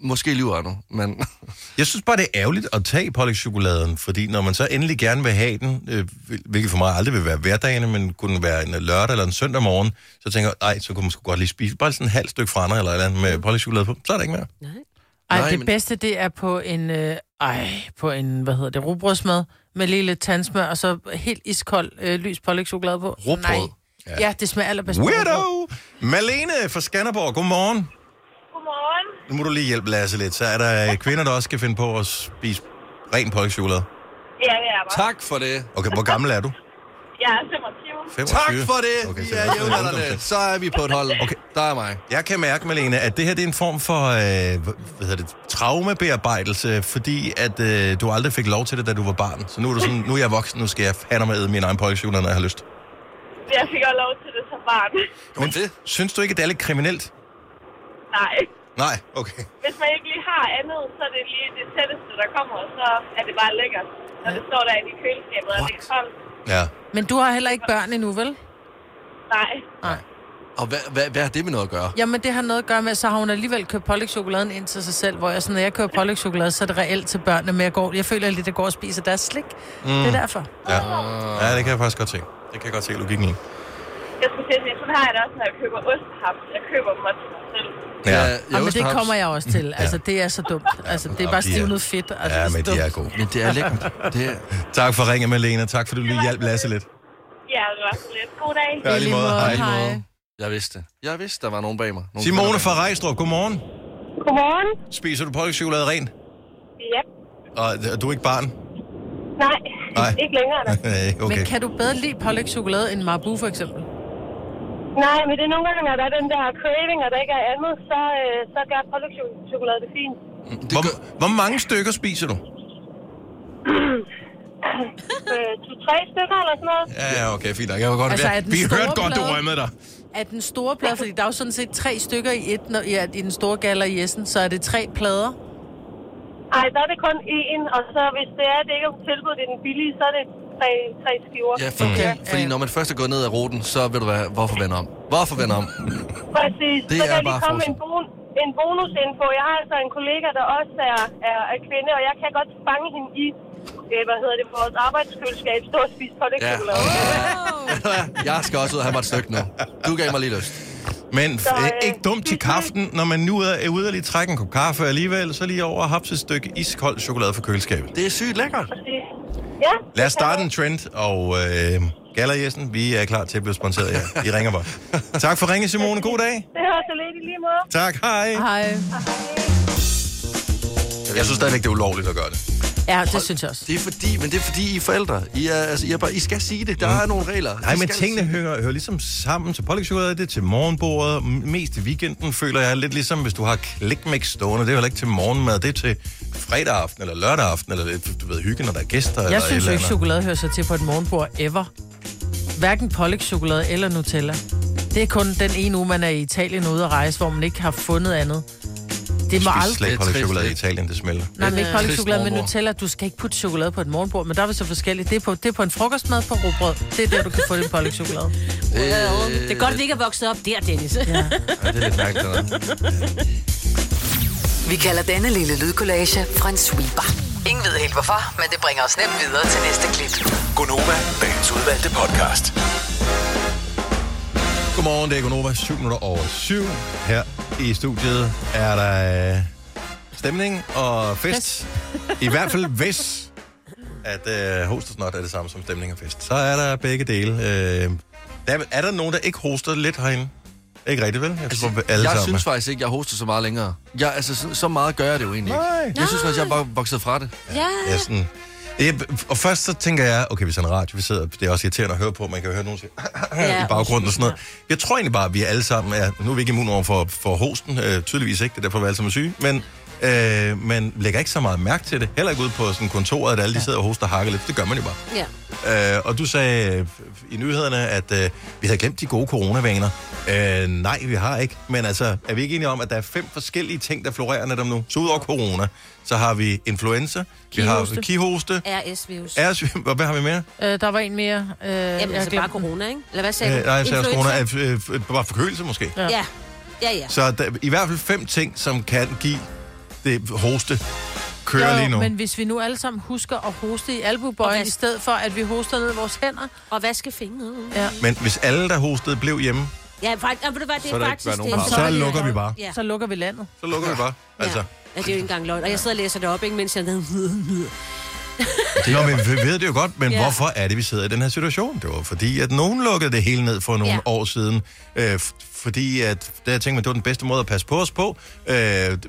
B: måske lyver jeg nu, men
A: Jeg synes bare, det er ærgerligt at tage pålægtschokoladen, fordi når man så endelig gerne vil have den, øh, hvil- hvilket for mig aldrig vil være hverdagene, men kunne være en lørdag eller en søndag morgen, så tænker jeg, nej, så kunne man sgu godt lige spise bare sådan en halv stykke fra andre eller et eller andet med pålægtschokolade på. Så er der ikke mere.
C: Ej,
B: Nej,
C: Nej, det
B: men-
C: men... bedste, det er på en, øh, ej, på en, hvad hedder det, rugbrødsmad med lige lidt tandsmør, og så helt iskold øh, lys pålægtschokolade på.
B: Rugbrød?
C: Ja. ja, det smager allerbedst. på rugbrød.
A: Weirdo! Malene fra Skanderborg, godmorgen.
H: Godmorgen.
A: Nu må du lige hjælpe Lasse lidt. Så er der øh, kvinder, der også skal finde på at spise ren pålægtschokolade.
H: Ja, det er
B: tak for det.
A: Okay, hvor gammel er du?
H: Jeg er 25.
A: 25.
B: Tak for det!
A: Okay,
B: Okay,
A: så
B: ja,
A: det er
B: jævnaldrende. Så er vi på et hold. Okay. Der er mig.
A: Jeg kan mærke, Malene, at det her det er en form for øh, hvad hedder det, traumebearbejdelse, fordi at øh, du aldrig fik lov til det, da du var barn. Så nu er du sådan, nu er jeg voksen, nu skal jeg fandme æde min egen pålægschokolade, når jeg har lyst.
K: Jeg fik også lov til det som barn.
A: Men synes du ikke, at det er lidt kriminelt?
K: Nej.
A: Nej, okay.
K: Hvis man ikke lige har andet, så er det lige det tætteste, der kommer, og så er det bare lækkert. Når det står derinde i køleskabet, og det er koldt.
A: Ja.
C: Men du har heller ikke børn endnu, vel?
K: Nej.
C: Nej.
B: Og hvad, hvad, hvad har det med noget at gøre?
C: Jamen, det har noget at gøre med, at så har hun alligevel købt pålægtschokoladen ind til sig selv, hvor jeg sådan, når jeg køber pålægtschokolade, så er det reelt til børnene, men jeg, går, jeg føler lidt, at jeg går og spiser deres slik. Mm. Det er derfor.
A: Ja. ja, det kan jeg faktisk godt se. Det kan jeg godt se logikken i.
K: Jeg skulle til at sige, sådan har jeg det også, når jeg køber ostehaps. Jeg køber dem også til mig selv.
A: Ja, ja
C: Ja, men det kommer jeg også
A: Mm.
C: til. Altså, det er så dumt. Altså, det er bare stivnet fedt. Altså,
A: Ja,
C: det
A: men
C: så
A: de er
C: dumt.
A: gode.
B: Men det er lækkert. Det er...
A: Tak for ringen, Malene. Tak for, at du lige hjalp Lasse lidt.
K: Ja, det var så lidt. God dag.
A: Ja, i lige måde. Hej. Hej.
B: Jeg vidste det. Jeg vidste, der var nogen bag mig. Nogen
A: Simone fra Rejstrup, godmorgen.
K: Godmorgen.
A: Spiser du pålægtschokolade ren?
K: Ja.
A: Og øh, er du ikke barn?
K: Nej,
A: Nej.
K: ikke længere. Da.
A: Nej, okay.
C: Men kan du bedre lide pålægtschokolade end Marabou, for eksempel?
K: Nej, men det er nogle gange, når der er den der craving, og der ikke er andet, så, øh, så gør pålægschokolade det fint.
A: Hvor, hvor mange stykker spiser du?
K: øh, to, tre stykker eller sådan noget.
A: Ja, ja, okay, fint. nok. Jeg var godt.
C: Altså, er
A: Altså,
C: den
A: vi
C: store
A: hørte godt, du
C: plade?
A: rømmede dig.
C: Er den store plade, fordi der er jo sådan set tre stykker i et, når, ja, i den store galler i Essen, så er det tre plader.
K: Ej, der er det kun én, og så hvis det er, at det ikke er på tilbud, det er den billige, så er det tre, tre skiver.
B: Ja,
A: Mm.
B: fordi, okay. fordi når man først er gået ned ad ruten, så vil du være, hvorfor vende om? Hvorfor vende om?
K: Præcis.
B: Det
K: så
B: er
K: kan jeg
B: bare
K: lige komme med en,
B: fortsat.
K: bon- en bonusinfo. Jeg har altså en kollega, der også er, er, er kvinde, og jeg kan godt fange hende i, øh, hvad hedder det, vores arbejdskøleskab, stå og spise pålægtschokolade.
B: Jeg skal også ud og have mig et stykke nu. Du gav mig lige lyst.
A: Men øh, ikke dumt til kaften, når man nu er er ude og lige trække en kop kaffe alligevel, så lige over og hapse et stykke iskold chokolade fra køleskabet.
B: Det er sygt lækkert.
K: Præcis. Ja,
A: Lad os starte en trend, og øh, Galler Jessen, vi er klar til at blive sponsoreret af jer. I ringer bare. Tak for ringe, Simone. God dag.
K: det hører så lidt i lige måde.
A: Tak, hej.
C: Hej.
A: Jeg synes stadigvæk, det er ulovligt at gøre det.
C: Ja, det synes jeg også.
B: Det er fordi, men det er fordi, I er forældre. I, er, altså, I, er bare, I skal sige det. Der er nogle regler.
A: Mm. Nej,
B: I
A: men
B: skal
A: tingene hører, hører ligesom sammen til pålægschokolade, det er til morgenbordet, m- mest i weekenden føler jeg lidt ligesom, hvis du har klikmix stående, det er heller ikke til morgenmad, det er til fredag aften, eller lørdag aften, eller lidt, du ved, hygge, når der er gæster, eller
C: Jeg
A: et
C: synes jo
A: eller
C: ikke,
A: andet.
C: chokolade hører sig til på et morgenbord ever. Hverken pålægtschokolade eller Nutella. Det er kun den ene uge, man er i Italien ude at rejse, hvor man ikke har fundet andet. Det må
A: Spis
C: aldrig...
A: slet ikke pålægschokolade i Italien, det smelter.
C: Nej, men ikke
B: Trist
C: pålægtschokolade, men
B: morgenbord.
C: Nutella. Du skal ikke putte chokolade på et morgenbord, men der er vi så forskelligt. Det er på, det er på en frokostmad på rugbrød. Det er der, du kan få din pålægtschokolade.
D: Øh, Det er godt, vi ikke er vokset op der, Dennis. Ja.
B: Ja, det er lidt mærkeligt. det der.
E: Vi kalder denne lille lydkollage en sweeper. Ingen ved helt hvorfor, men det bringer os nemt videre til næste klip.
L: Gonova, dagens udvalgte podcast.
A: Godmorgen, det er Gunova, 7 minutter over 7. Her i studiet er der øh, stemning og fest. I hvert fald hvis, at øh, host og snot er det samme som stemning og fest. Så er der begge dele. Øh, der, er- er der nogen, der ikke hoster lidt herinde? Ikke rigtigt, vel? Jeg, altså, tror, alle
B: Jeg
A: sammen.
B: synes faktisk ikke, jeg hoster så meget længere. Jeg, altså, så, så meget gør jeg det jo egentlig ikke. Jeg synes faktisk, jeg er bare vokset fra det.
D: ja.
A: Ja, sådan. Jeg, og først så tænker jeg, okay, hvis han er radio, vi sidder, det er også irriterende at høre på, man kan jo høre nogen sige, i baggrunden og sådan noget. Jeg tror egentlig bare, at vi alle sammen er, nu er vi ikke immune over for, for hosten, øh, tydeligvis ikke, det er derfor, vi alle sammen er syge, men øh, man lægger ikke så meget mærke til det, heller ikke ude på sådan kontoret, at alle de sidder og hoster og hakker lidt, det gør man jo bare.
D: ja.
A: Øh, og du sagde øh, i nyhederne, at øh, vi havde glemt de gode coronavaner. Øh, nej, vi har ikke. Men altså, er vi ikke enige om, at der er fem forskellige ting, der florerer netop nu? Så udover corona, så har vi influenza, vi har
D: Kihoste.
A: kihoste,
D: RS-virus.
A: RSV, og hvad har vi mere?
C: Øh, der var en mere. Øh,
D: Jamen,
C: jeg
D: altså
C: glemte
D: bare
C: den.
D: corona, ikke? Eller hvad sagde
A: Øh,
D: du?
A: nej, så er
D: Influenza?
A: corona er øh, øh, bare forkølelse måske.
D: Ja. ja. Ja, ja.
A: Så der, i hvert fald fem ting, som kan give det hoste, kører
C: Jo,
A: lige nu.
C: men hvis vi nu alle sammen husker at hoste i
D: Og
C: albuebøjen,
D: vask-
C: i stedet for, at vi hoster ned i vores hænder.
D: Og vaske fingre.
C: Ja.
A: Men hvis alle, der hostede, blev hjemme,
D: Ja, faktisk, ja, ved du hvad, det
B: Så er
D: er
B: der ikke
D: faktisk
B: været nogen
D: det.
A: så, så lukker vi bare.
D: Ja.
C: Så lukker vi landet.
A: Så lukker vi bare. Altså.
D: Ja, det er jo ikke engang løgn. Og jeg sidder og læser det op, ikke, mens jeg...
A: Det Nå, men vi ved det jo godt, men
D: Ja.
A: ja. hvorfor er det, vi sidder i den her situation? Det var fordi, at nogen lukkede det hele ned for nogle
D: Ja.
A: ja. år siden. Øh, f- fordi at, der tænkte man, det var den bedste måde at passe på os på. Øh,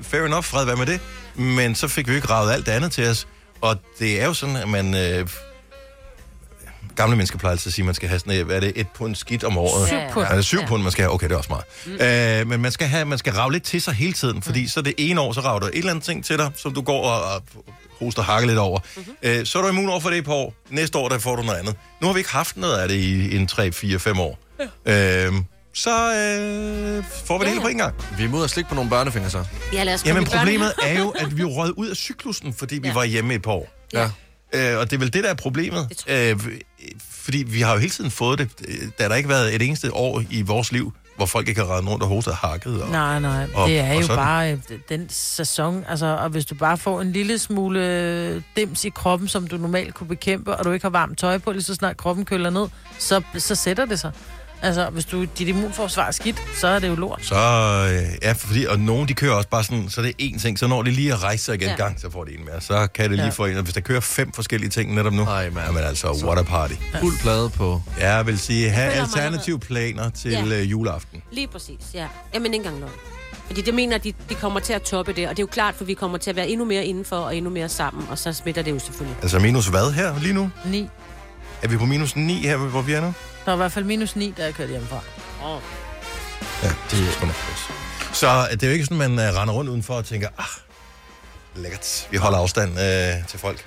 A: fair enough, fred, hvad med det? Men så fik vi jo ikke ravet alt det andet til os. Og det er jo sådan, at man... Øh, gamle mennesker plejer altid at sige, at man skal have sådan, øh, hvad er det, et pund skidt om året?
C: Syv pund.
A: Ja, det er syv
C: Ja.
A: pund, man skal have. Okay, det er også meget. Mm. Øh, men man skal, have, man skal rave lidt til sig hele tiden, fordi mm. så det ene år, så rager der et eller andet ting til dig, som du går og, og hoster hakke lidt over.
D: Mhm.
A: Mm-hmm. Øh, så er du immun over for det i et par år. Næste år, der får du noget andet. Nu har vi ikke haft noget af det i en 3, 4, 5 år. Ja. Øh, så øh, får vi det hele på en gang.
B: Vi er ude og slikke på nogle børnefinger, så.
D: Ja, lad os
A: Jamen
D: komme i
A: problemet
D: børnehave.
A: er jo, at vi er røget ud af cyklusen, fordi vi
D: Ja.
A: var hjemme et par år.
D: Ja.
A: Øh, og det er vel det, der er problemet. Øh, fordi vi har jo hele tiden fået det. Øh, Der har der ikke været et eneste år i vores liv, hvor folk ikke har reddet rundt og hostet og hakket. Og,
C: Nej, nej.
A: og-
C: det er
A: og
C: jo
A: sådan.
C: bare øh, den sæson. Altså, og hvis du bare får en lille smule øh, dims i kroppen, som du normalt kunne bekæmpe, og du ikke har varmt tøj på, lige så snart kroppen køler ned, så, så sætter det sig. Altså, hvis du, dit immunforsvar er skidt, så er det jo lort.
A: Så øh, ja, fordi, og nogen de kører også bare sådan, så det er én ting, så når de lige at rejse sig igen
C: Ja.
A: ja. gang, så får de en mere. Så kan det lige
B: Ja.
A: ja. få en, og hvis der kører fem forskellige ting netop nu, Ej, man. jamen altså, what a party.
B: Fuld plade på.
A: Ja, jeg vil sige, have
D: føler mig
A: alternative planer til
D: Ja.
A: ja. juleaften.
D: Lige præcis, ja. Jamen, ikke engang løgn. Fordi det mener, at de, de kommer til at toppe det, og det er jo klart, for vi kommer til at være endnu mere indenfor og endnu mere sammen, og så smitter det jo selvfølgelig.
A: Altså minus hvad her lige nu?
C: 9.
A: Er vi på minus 9 her, hvor vi er nu?
C: Der var i hvert fald minus 9, da jeg kørte hjemmefra.
D: Oh.
A: Ja, det er sgu nok pis. Så øh, det er jo ikke sådan, man øh, render rundt udenfor og tænker, ah, lækkert, vi holder afstand øh, til folk.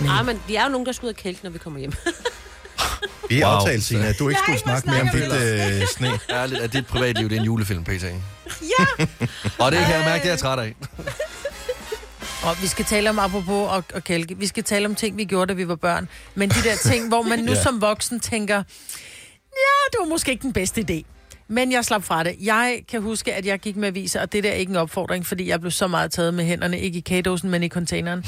D: Nej, Ah, men vi er jo nogen, der skal ud og kælke, når vi kommer hjem.
A: Vi
B: Wow.
A: wow. aftalte, Signe, at du ikke skulle snakke mere om dit øh, sne.
B: Ærligt, at dit privatliv, det er en julefilm, PT.
D: ja!
B: Og det kan jeg mærke, det er jeg træt af.
C: Og vi skal tale om, apropos og, og kælke, vi skal tale om ting, vi gjorde, da vi var børn. Men de der ting, hvor man nu
M: Ja.
C: ja. som voksen tænker, ja, det var måske ikke den bedste idé. Men jeg slap fra det. Jeg kan huske, at jeg gik med aviser, og det der er ikke en opfordring, fordi jeg blev så meget taget med hænderne, ikke i kagedåsen, men i containeren.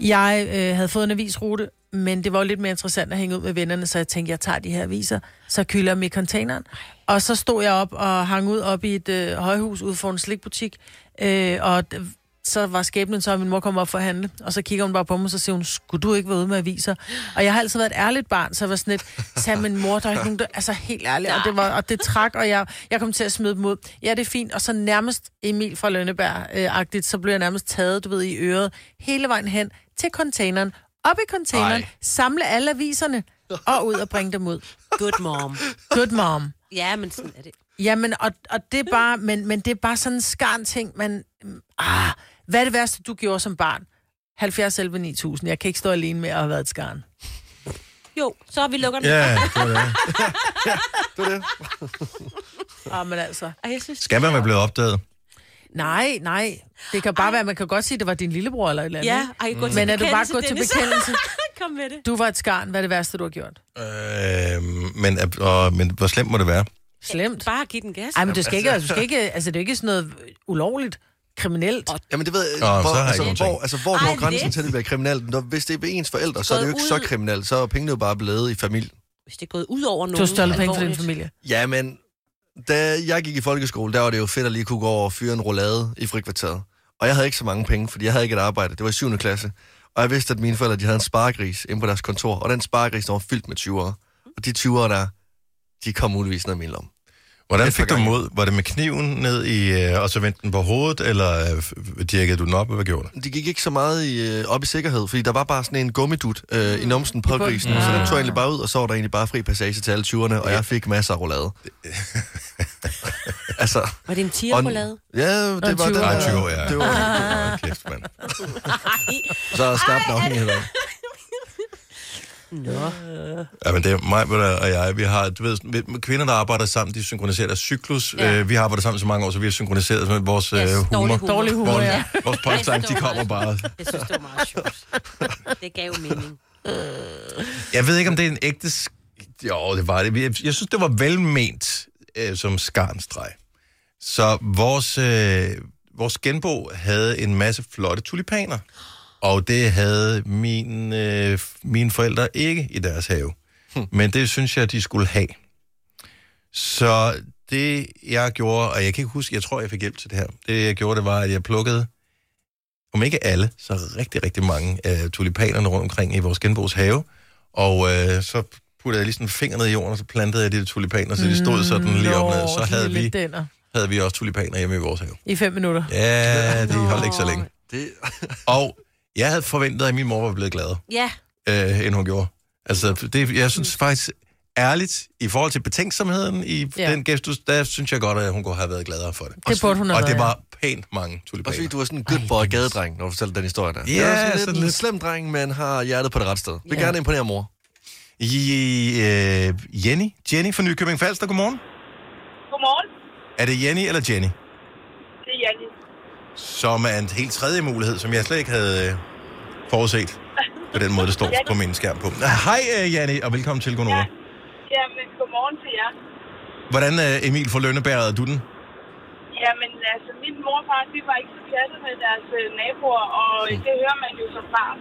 C: Jeg øh, havde fået en avisrute, men det var jo lidt mere interessant at hænge ud med vennerne, så jeg tænkte, jeg tager de her aviser, så kylder jeg dem i containeren. Og så stod jeg op og hang ud op i et øh, højhus ude for en slikbutik, øh, og d- så var skæbnen så, at min mor kom op for at handle, og så kigger hun bare på mig, og så siger hun, skulle du ikke være ude med aviser? Og jeg har altid været et ærligt barn, så jeg var sådan lidt, sagde min mor, der er ikke nogen, der, altså helt ærligt, og det, var, og det trak, og jeg, jeg kom til at smide dem ud. Ja, det er fint, og så nærmest Emil fra Lønneberg-agtigt, så blev jeg nærmest taget, du ved, i øret, hele vejen hen til containeren, op i containeren,
D: Ej.
C: Ej. samle alle aviserne, og ud og bringe dem ud.
D: Good mom.
C: Good mom.
D: Ja, men sådan er det.
C: Jamen, og, og det er bare, men, men det er bare sådan en skarn ting, man... Ah, hvad er det værste, du gjorde som barn? 70 11 9000. Jeg kan ikke stå alene med at have været et skarn.
D: Jo, så vi lukker den.
A: Ja, det var det.
B: det, var det.
C: Ah, men altså.
D: Ej, jeg synes,
A: Skal man være blevet opdaget?
C: Nej, nej. Det kan bare ej. være, man kan godt sige, at det var din lillebror eller et eller andet.
D: Ja, ej, gå til
C: Mm. Men er du bare
D: bekendelse,
C: gået til
D: Dennis.
C: bekendelse?
D: Kom med det.
C: Du var et skarn. Hvad er det værste, du har gjort?
A: Øh, men, er- og, men hvor slemt må det være?
C: Slemt.
D: Bare give den gas.
C: Ej, men du skal ikke, du skal ikke, altså det er jo ikke sådan noget ulovligt, kriminelt.
B: Jamen det ved jeg,
A: Nå, så
B: hvor,
A: har jeg
B: altså,
A: ikke nogen
B: hvor,
A: ting.
B: altså, hvor går
C: Ej,
B: grænsen
C: lidt.
B: til, at det bliver kriminelt? Når, hvis det er ved ens forældre, så er det jo ikke så
D: Gået ud.
B: kriminelt. Så er pengene jo bare blevet i familien.
D: Hvis det er gået ud over nogen.
C: Du har stjålet penge fra din
D: alvorligt.
C: familie.
B: Ja, men da jeg gik i folkeskole, der var det jo fedt at lige kunne gå over og fyre en roulade i frikvarteret. Og jeg havde ikke så mange penge, fordi jeg havde ikke et arbejde. Det var i 7. klasse. Og jeg vidste, at mine forældre de havde en sparegris inde på deres kontor. Og den sparegris, den var fyldt med 20'ere. Og de 20'ere der, de kom muligvis ned i min lomme.
A: Hvordan
B: Et par
A: fik du
B: gange.
A: mod? Var det med kniven ned i, øh, og så vendte den på hovedet, eller øh, f- dirkede du den op, og hvad gjorde du?
B: De gik ikke så meget i, øh, op i sikkerhed, fordi der var bare sådan en gummidut øh, i numsen på grisen,
A: bunden.
B: så den tog jeg egentlig bare ud, og så var der egentlig bare fri passage til alle 20'erne, og jeg fik masser af roulade. altså,
D: Var det en
B: tierroulade?
D: tierroulade?
B: ja, det var det.
A: Nej, 20 år, ja.
B: Det var,
D: Ah.
A: Hold kæft, mand.
B: så er snabt afhængighed af.
D: Nå.
A: Ja, men det er mig ved dig og jeg, vi har, du ved, sådan, vi- kvinder, der arbejder sammen, de synkroniserer deres cyklus.
D: Ja.
A: Ja. Øh, vi har arbejdet sammen så mange år, så vi har synkroniseret med vores øh, humor.
D: dårlig humor. Dårlig humor,
A: vores,
D: ja.
A: Vores punchline, de kommer bare.
D: Jeg synes, det var meget sjovt. Det gav jo mening.
A: Jeg ved ikke, om det er en ægte... sk- Jo, det var det. Jeg, jeg synes, det var velment øh, som skarnstreg. Så vores, øh, vores genbo havde en masse flotte tulipaner. Og det havde min, øh, mine forældre ikke i deres have. Hmm. Men det synes jeg, de skulle have. Så det, jeg gjorde, og jeg kan ikke huske, jeg tror, jeg fik hjælp til det her. Det, jeg gjorde, det var, at jeg plukkede, om ikke alle, så rigtig, rigtig mange af tulipanerne rundt omkring i vores genbos have. Og øh, så puttede jeg lige sådan fingeren ned i jorden, og så plantede jeg de der tulipaner, så de stod sådan
C: Mm,
A: lige op ned. Så havde vi,
C: Dænder.
A: havde vi også tulipaner hjemme i vores have.
C: I fem minutter.
A: Ja, de holdt ikke så længe.
B: Det...
A: og jeg havde forventet, at min mor var blevet glad,
D: Ja,
C: Mm.
A: øh, end hun gjorde. Altså, det, jeg synes faktisk, ærligt, i forhold til betænksomheden i
C: Ja.
A: ja. den gæst, du- der synes jeg godt, at hun kunne have været gladere for det.
C: Det burde hun have
A: Og
C: været,
A: det
C: ja.
A: var pænt mange
B: Også
A: tulipaner.
B: fordi du er sådan en good boy gadedreng, når du fortæller den historie der.
A: Ja,
B: Du er sådan lidt
A: sådan
B: en
A: lidt.
B: slem dreng, men har hjertet på det rette sted. Vil
A: Ja.
B: gerne imponere mor.
A: I, øh, Jenny. Jenny fra Nykøbing Falster, godmorgen.
M: Godmorgen,
A: Er det Jenny eller Jenny?
M: det er Janne.
A: Som er en helt tredje mulighed, som jeg slet ikke havde øh, forudset. På den måde, det står på min skærm på. Hej, øh, Jenny, og velkommen til, Gunova. Ja.
M: Jamen, godmorgen til jer.
A: Hvordan, øh, Emil fra Lønneberg, er du den?
M: Jamen, altså, min mor og far, de var ikke så pjattet med deres øh, naboer, og øh, det hører man jo som barn.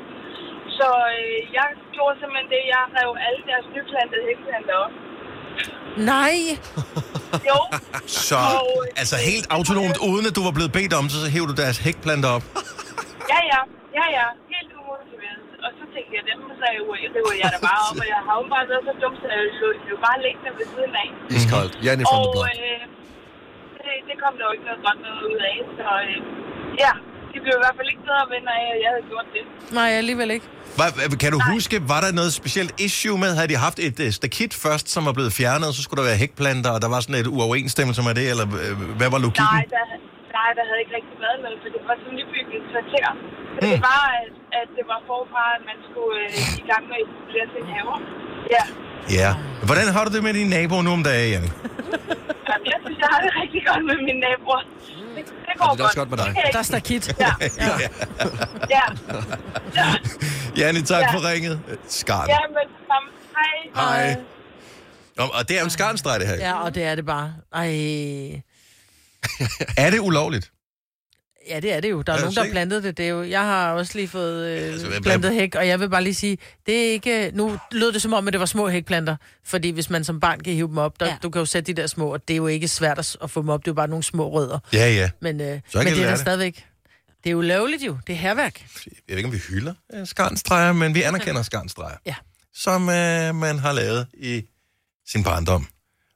M: Så øh, jeg gjorde simpelthen det, jeg rev alle deres nyplantede hækkeplanterne op.
C: Nej.
M: Jo.
A: Ah, Så
M: Og,
A: altså helt autonomt,
M: øh.
A: uden at du var blevet bedt om, så hævde du deres hækplanter op.
M: Ja, ja, ja, ja, helt umotiveret. Og så tænkte jeg, dem rev, river jeg da bare op, og jeg har jo bare været så dum, så jeg lod dem jo bare liggende ved siden af.
N: Mm.
B: Iskoldt. Janne fra
M: og
B: the block.
M: øh, det, det kom der jo ikke noget godt noget ud af, så øh, ja, de blev i hvert fald ikke bedre venner af, at jeg havde gjort det.
C: Nej, alligevel ikke.
A: Hva, kan du huske, var der noget specielt issue med? Havde de haft et øh, stakit først, som var blevet fjernet, og så skulle der være hækplanter, og der var sådan et uoverensstemmelse med det, eller øh, hvad var logikken?
M: Nej, der, nej, der havde ikke rigtig været noget, for det var sådan nybygget kvarter. Så det var, at, at det var forfra, at man skulle øh, i gang med at etablere sin haver. Ja,
A: Ja. Hvordan har du det med dine naboer nu om dagen, Janne?
M: Jamen, jeg synes, jeg har det rigtig godt med mine naboer. Det, det går
A: Og det er også godt med dig.
M: Det kan jeg
C: Der er stakit.
M: Ja,
A: Ja.
M: ja.
A: Janne, tak
M: Ja.
A: for ringet. Skarn.
M: ja men sammen. Hej.
A: Hej. Og, og det er jo en skarnstreg, det her.
C: Ja, og det er det bare. Ej.
A: Er det ulovligt?
C: Ja, det er det jo. Der er,
A: Er du
C: nogen, der har
A: sikker?
C: blandet det. det er jo. Jeg har også lige fået
A: Altså,
C: øh,
A: hvad-
C: plantet hæk, og jeg vil bare lige sige, det er ikke... Nu lød det som om, at det var små hækplanter, fordi hvis man som barn kan hive dem op, der, ja. du kan jo sætte de der små, og det er jo ikke svært at, s- at få dem op, det er jo bare nogle små rødder.
A: Ja, ja.
C: Men, øh, men
A: kan de
C: det er
A: lære
C: der
A: det.
C: stadigvæk... Det er jo lovligt jo. Det er herværk.
A: Jeg ved ikke, om vi hylder øh, skarnstreger, men vi anerkender skarnstreger.
C: Ja.
A: Som øh, man har lavet i sin barndom.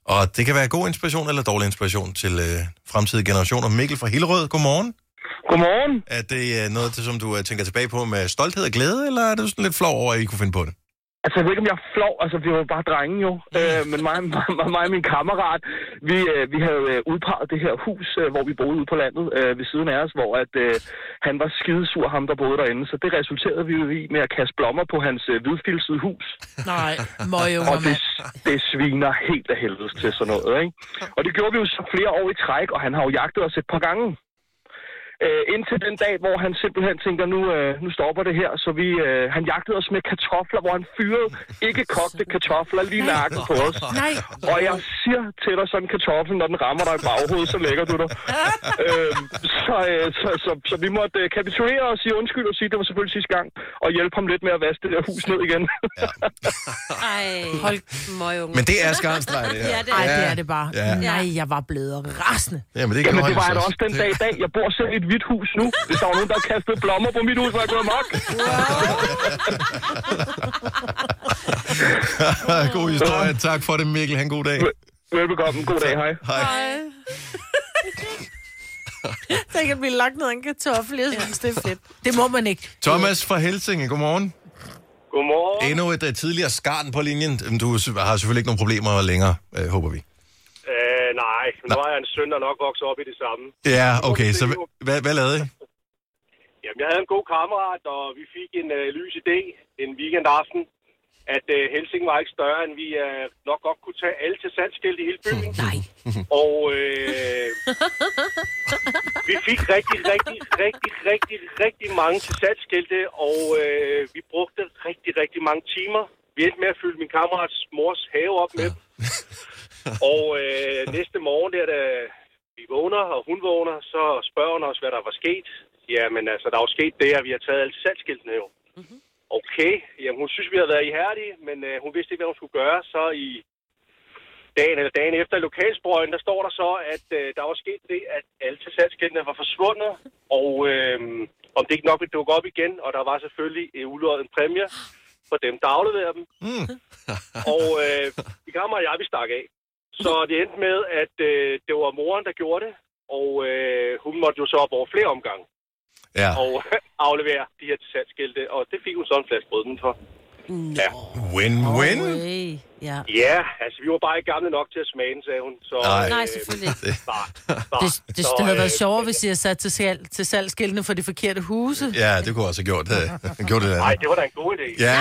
A: Og det kan være god inspiration eller dårlig inspiration til øh, fremtidige generationer. Mikkel fra Hillerød, godmorgen.
J: Godmorgen.
A: Er det øh, noget, det, som du øh, tænker tilbage på med stolthed og glæde, eller er du sådan lidt flov over, at I kunne finde på det?
J: Altså, jeg ved ikke, om jeg er flov. Altså, vi var jo bare drenge jo. Øh, men mig, mig, mig og min kammerat, vi, øh, vi havde øh, udpeget det her hus, øh, hvor vi boede ude på landet øh, ved siden af os, hvor at, øh, han var skidesur, ham der boede derinde. Så det resulterede vi jo i med at kaste blommer på hans øh, hvidfilsede hus.
C: Nej, møgunger,
J: Og det,
C: mand.
J: det sviner helt af helvede til sådan noget, ikke? Og det gjorde vi jo så flere år i træk, og han har jo jagtet os et par gange. Øh, indtil den dag, hvor han simpelthen tænker, nu, øh, nu stopper det her. Så vi, øh, han jagtede os med kartofler, hvor han fyrede ikke kogte kartofler lige i nakken på os.
C: Nej.
J: Og jeg siger til dig sådan en kartoffel, når den rammer dig i baghovedet, så lægger du dig. Øh, så, øh, så, så, så, vi måtte øh, kapitulere og sige undskyld og sige, det var selvfølgelig sidste gang. Og hjælpe ham lidt med at vaske det der hus ned igen.
D: Ej, hold møgunge.
A: Men det er skarnstreg, det her.
D: Ja, det er
C: Ej, det
A: Ja.
C: er det bare.
A: Ja.
C: Nej, jeg var blevet rasende.
A: Jamen, det,
J: Jamen, det var jeg da også den dag i dag. Jeg bor selv i et hvidt hus nu. Hvis der var nogen, der havde kastet blommer på mit hus, var jeg gået amok.
A: god historie. Tak for det, Mikkel. Han god dag.
J: Velbekomme. God dag. Hej.
A: Hej.
C: Der kan blive lagt ned af en kartoffel. Jeg synes, det er fedt. Det må man ikke.
A: Thomas fra Helsinge, godmorgen.
O: Godmorgen.
A: Endnu et uh, tidligere skarn på linjen. Jamen, Du s- har selvfølgelig ikke nogen problemer længere, øh, håber vi.
O: Øh, nej, men nu har jeg en søn, der nok vokser op i det samme.
A: Ja, okay, så hva- hvad, hvad lavede I?
O: Jamen, jeg havde en god kammerat, og vi fik en øh, lys idé en weekendaften, at øh, Helsing var ikke større, end vi øh, nok godt kunne tage alle til salgsskilt i hele byen. Nej. Og øh, vi fik rigtig, rigtig, rigtig, rigtig, rigtig mange til salgsskilte, og øh, vi brugte rigtig, rigtig mange timer. Vi endte med at fylde min kammerats mors have op med dem. Og øh, næste morgen, der, da vi vågner, og hun vågner, så spørger hun os, hvad der var sket. Jamen altså, der er jo sket det, at vi har taget alle salgsskiltene jo. Mm-hmm. Okay, jamen hun synes, vi havde været ihærdige, men øh, hun vidste ikke, hvad hun skulle gøre. Så i dagen eller dagen efter i lokalsprøjen, der står der så, at øh, der var sket det, at alle til salgsskiltene var forsvundet. Og øh, om det ikke nok ville dukke op igen, og der var selvfølgelig øh, uløjet en præmie for dem, der afleverer dem.
A: Mm.
O: og øh, de kammer og jeg, vi stak af. Så det endte med, at øh, det var moren, der gjorde det, og øh, hun måtte jo så op over flere omgange
A: Ja.
O: og aflevere de her til salgsskilte, og det fik hun så en flaske rødvin for.
P: Ja.
A: Win-win.
O: Ja.
P: ja, altså vi var bare ikke gamle nok til at smage den, sagde hun. Så, øh,
A: Nej.
C: Nej, selvfølgelig ikke.
P: nej,
O: Ah,
C: Det, det, det havde
O: øh,
C: været
P: øh,
C: sjovere, hvis I havde sat til, salg, til salgskiltene for de forkerte huse.
A: Ja, det kunne også have gjort, uh, gjort det andet.
P: Nej, det var da en god idé.
A: Ja.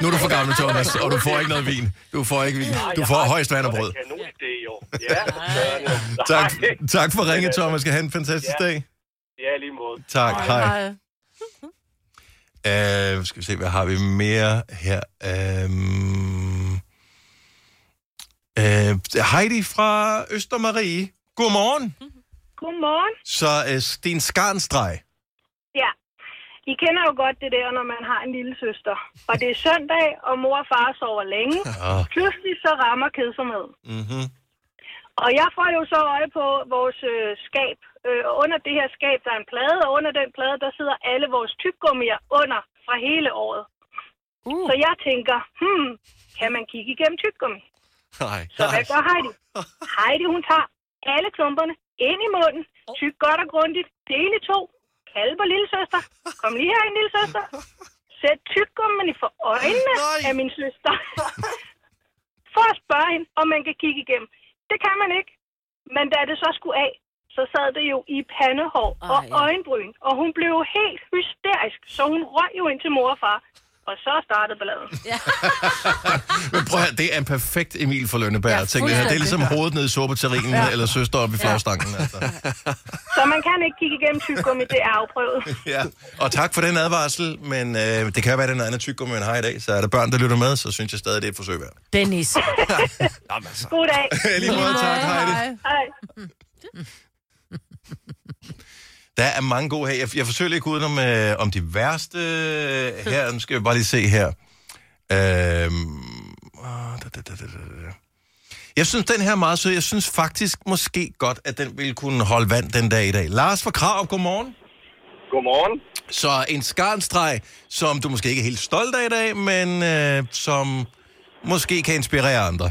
A: Nu er du for gammel, Thomas, og du får ikke noget vin. Du får ikke vin. Du får højst vand og brød.
P: Kanon idé, jo. Ja, sådan, ja.
A: Tak,
P: Nej.
A: tak for ringet,
P: Men, øh,
A: Thomas. Skal have en fantastisk
P: ja.
A: dag.
P: Ja, i lige måde.
A: Tak, hej. Uh, skal vi se, hvad har vi mere her? Um, uh, Heidi fra Østermarie. Godmorgen.
Q: Godmorgen.
A: Så uh, Sten Skarnstreg.
Q: Ja. I kender jo godt det der, når man har en lille søster. Og det er søndag, og mor og far sover længe.
A: Ah.
Q: Pludselig så rammer kedsomhed.
A: Mm-hmm.
Q: Og jeg får jo så øje på vores øh, skab. Øh, og under det her skab, der er en plade, og under den plade, der sidder alle vores tyggegummier under fra hele året. Uh. Så jeg tænker, hmm, kan man kigge igennem tyggegummi?
R: Nej.
Q: Så hvad gør Heidi? Heidi, hun tager alle klumperne ind i munden, tyk godt og grundigt, del i to, kalde på lille søster. Kom lige her lille søster. Sæt tyggegummen for øjnene af min søster. For at spørge hende, om man kan kigge igennem. Det kan man ikke. Men da det så skulle af, så sad det jo i pandehår og øjenbryn. Og hun blev jo helt hysterisk, så hun røg jo ind til mor og far. Og så startede balladen. Ja.
A: Men prøv at, høre, det er en perfekt Emil for Lønneberg, ja, tænker jeg. Det er ligesom hovedet ned i sorbetterinen, ja.
Q: Ja.
A: eller søster op i
Q: Ja.
A: flagstangen. Altså.
Q: Så man kan ikke kigge igennem tyggegummi, det er afprøvet.
A: Ja. Og tak for den advarsel, men øh, det kan jo være, at den er andet tyk, man har i dag. Så er der børn, der lytter med, så synes jeg stadig, det er et forsøg værd.
C: Dennis. altså.
Q: God dag.
A: Lige måde, tak, Heidi.
Q: Hej.
A: Der er mange gode her. Jeg, jeg forsøger ikke udenom øh, om de værste øh, her. Nu skal jeg bare lige se her. Øhm, ah, da, da, da, da, da, da. Jeg synes, den her er meget sød. Jeg synes faktisk måske godt, at den ville kunne holde vand den dag i dag. Lars fra Krav, godmorgen.
P: Godmorgen.
A: Så en skarnstreg, som du måske ikke er helt stolt af i dag, men øh, som måske kan inspirere andre.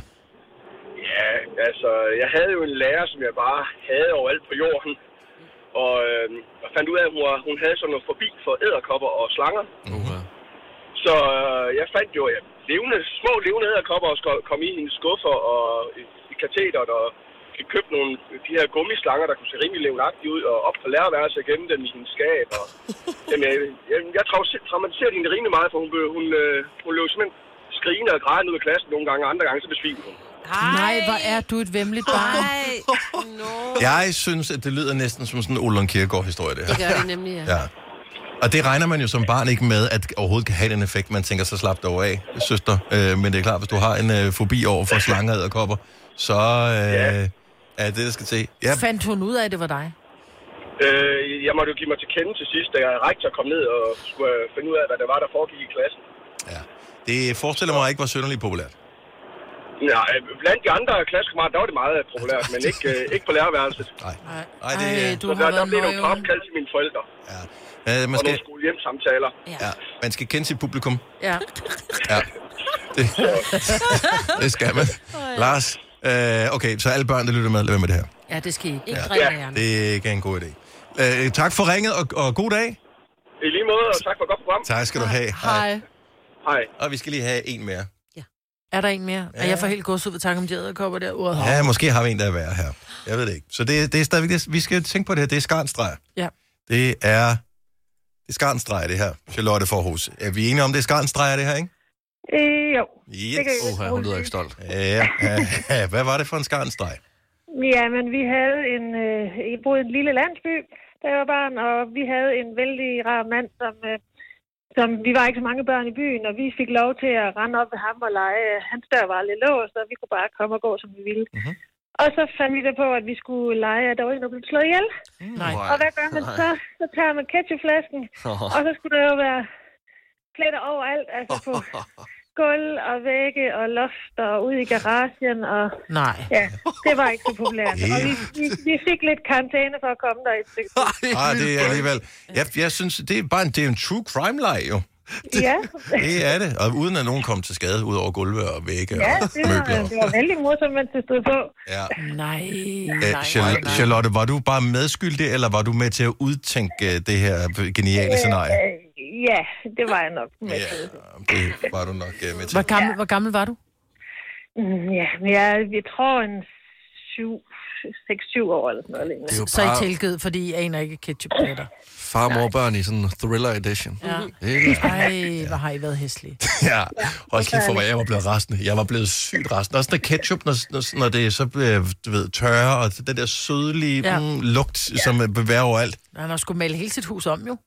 P: Ja, altså, jeg havde jo en lærer, som jeg bare havde overalt på jorden. Og øh, jeg fandt ud af, at hun, var- hun havde sådan noget forbi for æderkopper og slanger.
R: Uh-huh.
P: Så øh, jeg fandt jo ja, levende, små levende æderkopper og sko- kom i hendes skuffer og i, i kateteret og fik købt nogle af de her gummislanger, der kunne se rimelig levnagtige ud, og op på lærerværelset og gemme dem i hendes skab. Og, jamen, jeg, jeg, jeg trau- traumatiserede hende rimelig meget, for hun, blev, hun, øh, hun løb simpelthen skrigende og grædende ud af klassen nogle gange, og andre gange så besvimede hun.
C: Nej, hvor er du et vemmeligt barn. Nej.
A: Jeg synes, at det lyder næsten som sådan en Olon Kierkegaard-historie, det her.
O: Det gør det nemlig, ja.
A: Ja. Og det regner man jo som barn ikke med, at det overhovedet kan have den effekt, man tænker, så slap dig over af, søster. Øh, men det er klart, hvis du har en øh, fobi over for slanger og kopper, så øh, er det, der skal til. Ja,
C: Fandt hun ud af, at det var dig?
P: Øh, jeg måtte jo give mig til kende til sidst, da jeg rektor kom ned og skulle øh, finde ud af, hvad der var, der foregik i klassen.
A: det forestiller mig ikke var synderligt populært.
P: Ja, øh, blandt de andre klassekammerater, der var det meget øh, populært, men ikke, øh, ikke på lærerværelset.
A: Nej.
P: Nej,
A: det, Ej,
P: så der, der blev nogle opkald til mine forældre,
A: Øh,
P: og
A: man, skal,
P: nogle skolehjemsamtaler.
A: ja, man skal kende sit publikum.
C: Ja.
A: Ja, det, det skal man. Lars, øh, okay, så alle børn, der lytter med, lad være med det her.
C: Ja, det skal I ikke. Ikke
A: Ja.
C: drikke ja.
A: Det er ikke en god idé. Øh, tak for ringet, og, og god dag.
P: I lige måde, og tak for et godt program.
A: Tak skal du have.
C: Hej.
P: Hej.
A: Og vi skal lige have en mere.
C: Er der en mere? Ja. Og jeg får helt gods ud ved tanken om de æderkopper der. Uret
A: Ja, måske har vi en, der er værre her. Jeg ved det ikke. Så det, det er stadigvæk, det, vi skal tænke på det her. Det er skarnstreger.
C: Ja.
A: Det er, det er skarnstreger, det her. Charlotte Forhus. Er vi enige om, det er skarnstreger, det her, ikke?
Q: Øh, jo.
A: Yes.
Q: Det kan jeg Oha, hun lyder
A: ikke stolt. Ja, ja, hvad var det for en skarnstreg?
Q: Ja, men vi havde en, øh, jeg boede i en lille landsby, da jeg var barn, og vi havde en vældig rar mand, som, øh, som vi var ikke så mange børn i byen, og vi fik lov til at rende op ved ham og lege. Hans dør var lidt låst, og vi kunne bare komme og gå, som vi ville. Mm-hmm. Og så fandt vi der på, at vi skulle lege, at der var en, der blev slået ihjel.
C: Nej.
Q: Og hvad gør man så? Så tager man ketchupflasken, og så skulle der jo være pletter overalt, altså på gulv og vægge og loft og ude i garagen og...
C: Nej.
Q: Ja, det var ikke så populært. Og vi, vi, vi fik lidt karantæne for at komme der et stykke tid.
A: Ah, det er alligevel... Jeg, jeg synes, det er bare en, det er en true crime-leg, jo.
Q: Ja,
A: Det er det. Og uden at nogen kom til skade, ud over gulve og vægge
Q: ja
A: og
Q: det, var,
A: møbler.
Q: det var vældig morsomt, mens det stod på.
A: Ja.
C: Nej.
A: Æ, Charlotte, Charlotte, var du bare medskyldig, eller var du med til at udtænke øh, det her øh, geniale scenarie?
Q: Øh,
S: Ja, det var jeg nok. Med
A: Ja,
S: til.
A: det var du nok øh, med til.
C: Hvor gammel, ja. hvor gammel var du?
S: Mm, ja, men jeg, jeg tror en 6-7 år eller sådan noget. lignende.
B: Det er jo
C: Så I
B: bare-
C: tilgivet, fordi I aner ikke ketchup pletter.
B: Far, mor og børn i sådan en thriller edition.
C: Ja.
B: Det er
C: Ej, hvor har I været hæslige.
A: Ja, hold kæft for, hvor jeg var blevet resten. Jeg var blevet sygt resten. Også når ketchup, når, når, når det så bliver du ved, tørre, og den der sødlige
C: Ja.
A: ja. mm, lugt, ja. som øh, bevæger overalt.
C: Han har skulle male hele sit hus om, jo.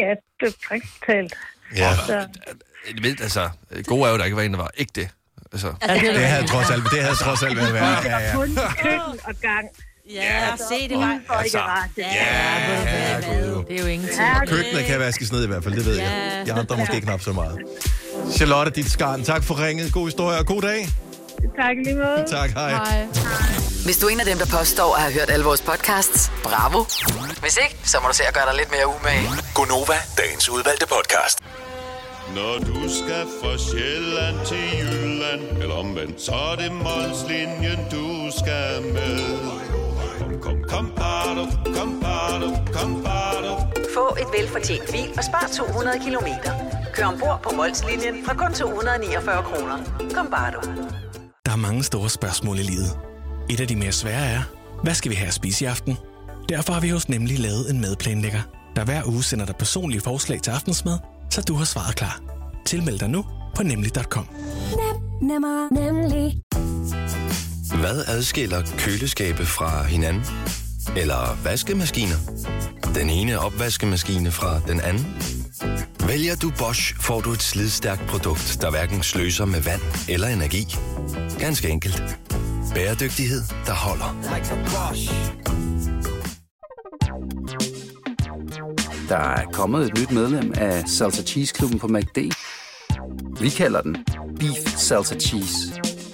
S: Ja, det er faktisk talt. Altså,
A: Ja.
S: Så,
B: Jeg ved, altså, gode er jo, der ikke var en, der var ikke det. Altså,
S: Ja, det er
A: Det havde trods alt, det havde trods alt været værre. Ja, ja.
S: kun køkken og gang.
D: Ja, se det var...
A: Altså, ja, gud.
C: Det er jo ingenting.
A: Og køkkenet kan vaskes ned i hvert fald, det ved jeg. Jeg andre måske knap så meget. Charlotte, dit skarn. Tak for ringet. God historie og god dag.
S: Tak lige måde.
A: Tak, hej.
E: Hvis du er en af dem, der påstår at have hørt alle vores podcasts, bravo. Hvis ikke, så må du se at gøre dig lidt mere umage.
L: Gonova, dagens udvalgte podcast.
T: Når du skal fra Sjælland til Jylland, eller omvendt, så er det Molslinjen, du skal med. Kom, kom, kom, bado, kom, bado, kom, bado.
U: Få et velfortjent bil og spar 200 kilometer. Kør ombord på Molslinjen fra kun 249 kroner. Kom bare du.
V: Der er mange store spørgsmål i livet. Et af de mere svære er, hvad skal vi have at spise i aften? Derfor har vi hos Nemlig lavet en madplanlægger, der hver uge sender dig personlige forslag til aftensmad, så du har svaret klar. Tilmeld dig nu på nemlig.com.
W: Nemmer, nemlig.
N: Hvad adskiller køleskabe fra hinanden? Eller vaskemaskiner? Den ene opvaskemaskine fra den anden? Vælger du Bosch, får du et slidstærkt produkt, der hverken sløser med vand eller energi. Ganske enkelt. Bæredygtighed, der holder.
X: Like a Bosch. Der er kommet et nyt medlem af Salsa Cheese Klubben på MACD. Vi kalder den Beef Salsa Cheese,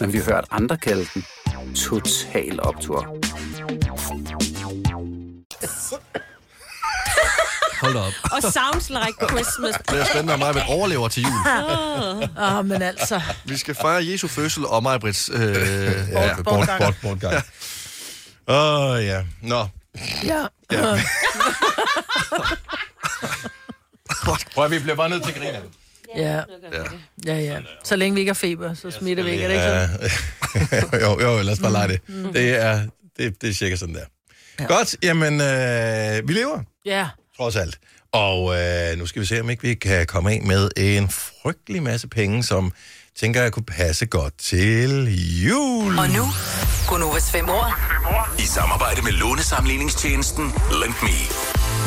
X: men vi har hørt andre kalde den Total Optor.
B: hold da op.
D: Og sounds like Christmas.
B: Det er spændende, om mig vil overlever til jul.
C: Åh, oh, men altså.
B: Vi skal fejre Jesu fødsel og mig, Brits. Øh,
A: Ja, bort, bort, bort, bort, gang. Åh, oh, ja. Nå.
C: Ja.
A: Ja. Prøv at vi bliver bare nødt til at grine af det.
C: Ja.
A: Ja.
C: ja, ja. Så længe vi ikke har feber, så smitter vi ikke, er det ikke sådan? Mm.
A: Ja. jo, jo, lad os bare lege det. Det er, det, det er cirka sådan der. Ja. Godt, jamen, øh, vi lever,
C: Ja.
A: trods alt. Og øh, nu skal vi se, om ikke vi kan komme af med en frygtelig masse penge, som tænker jeg kunne passe godt til jul.
E: Og nu, Gunovas fem år.
L: I samarbejde med lånesamligningstjenesten Lend Me.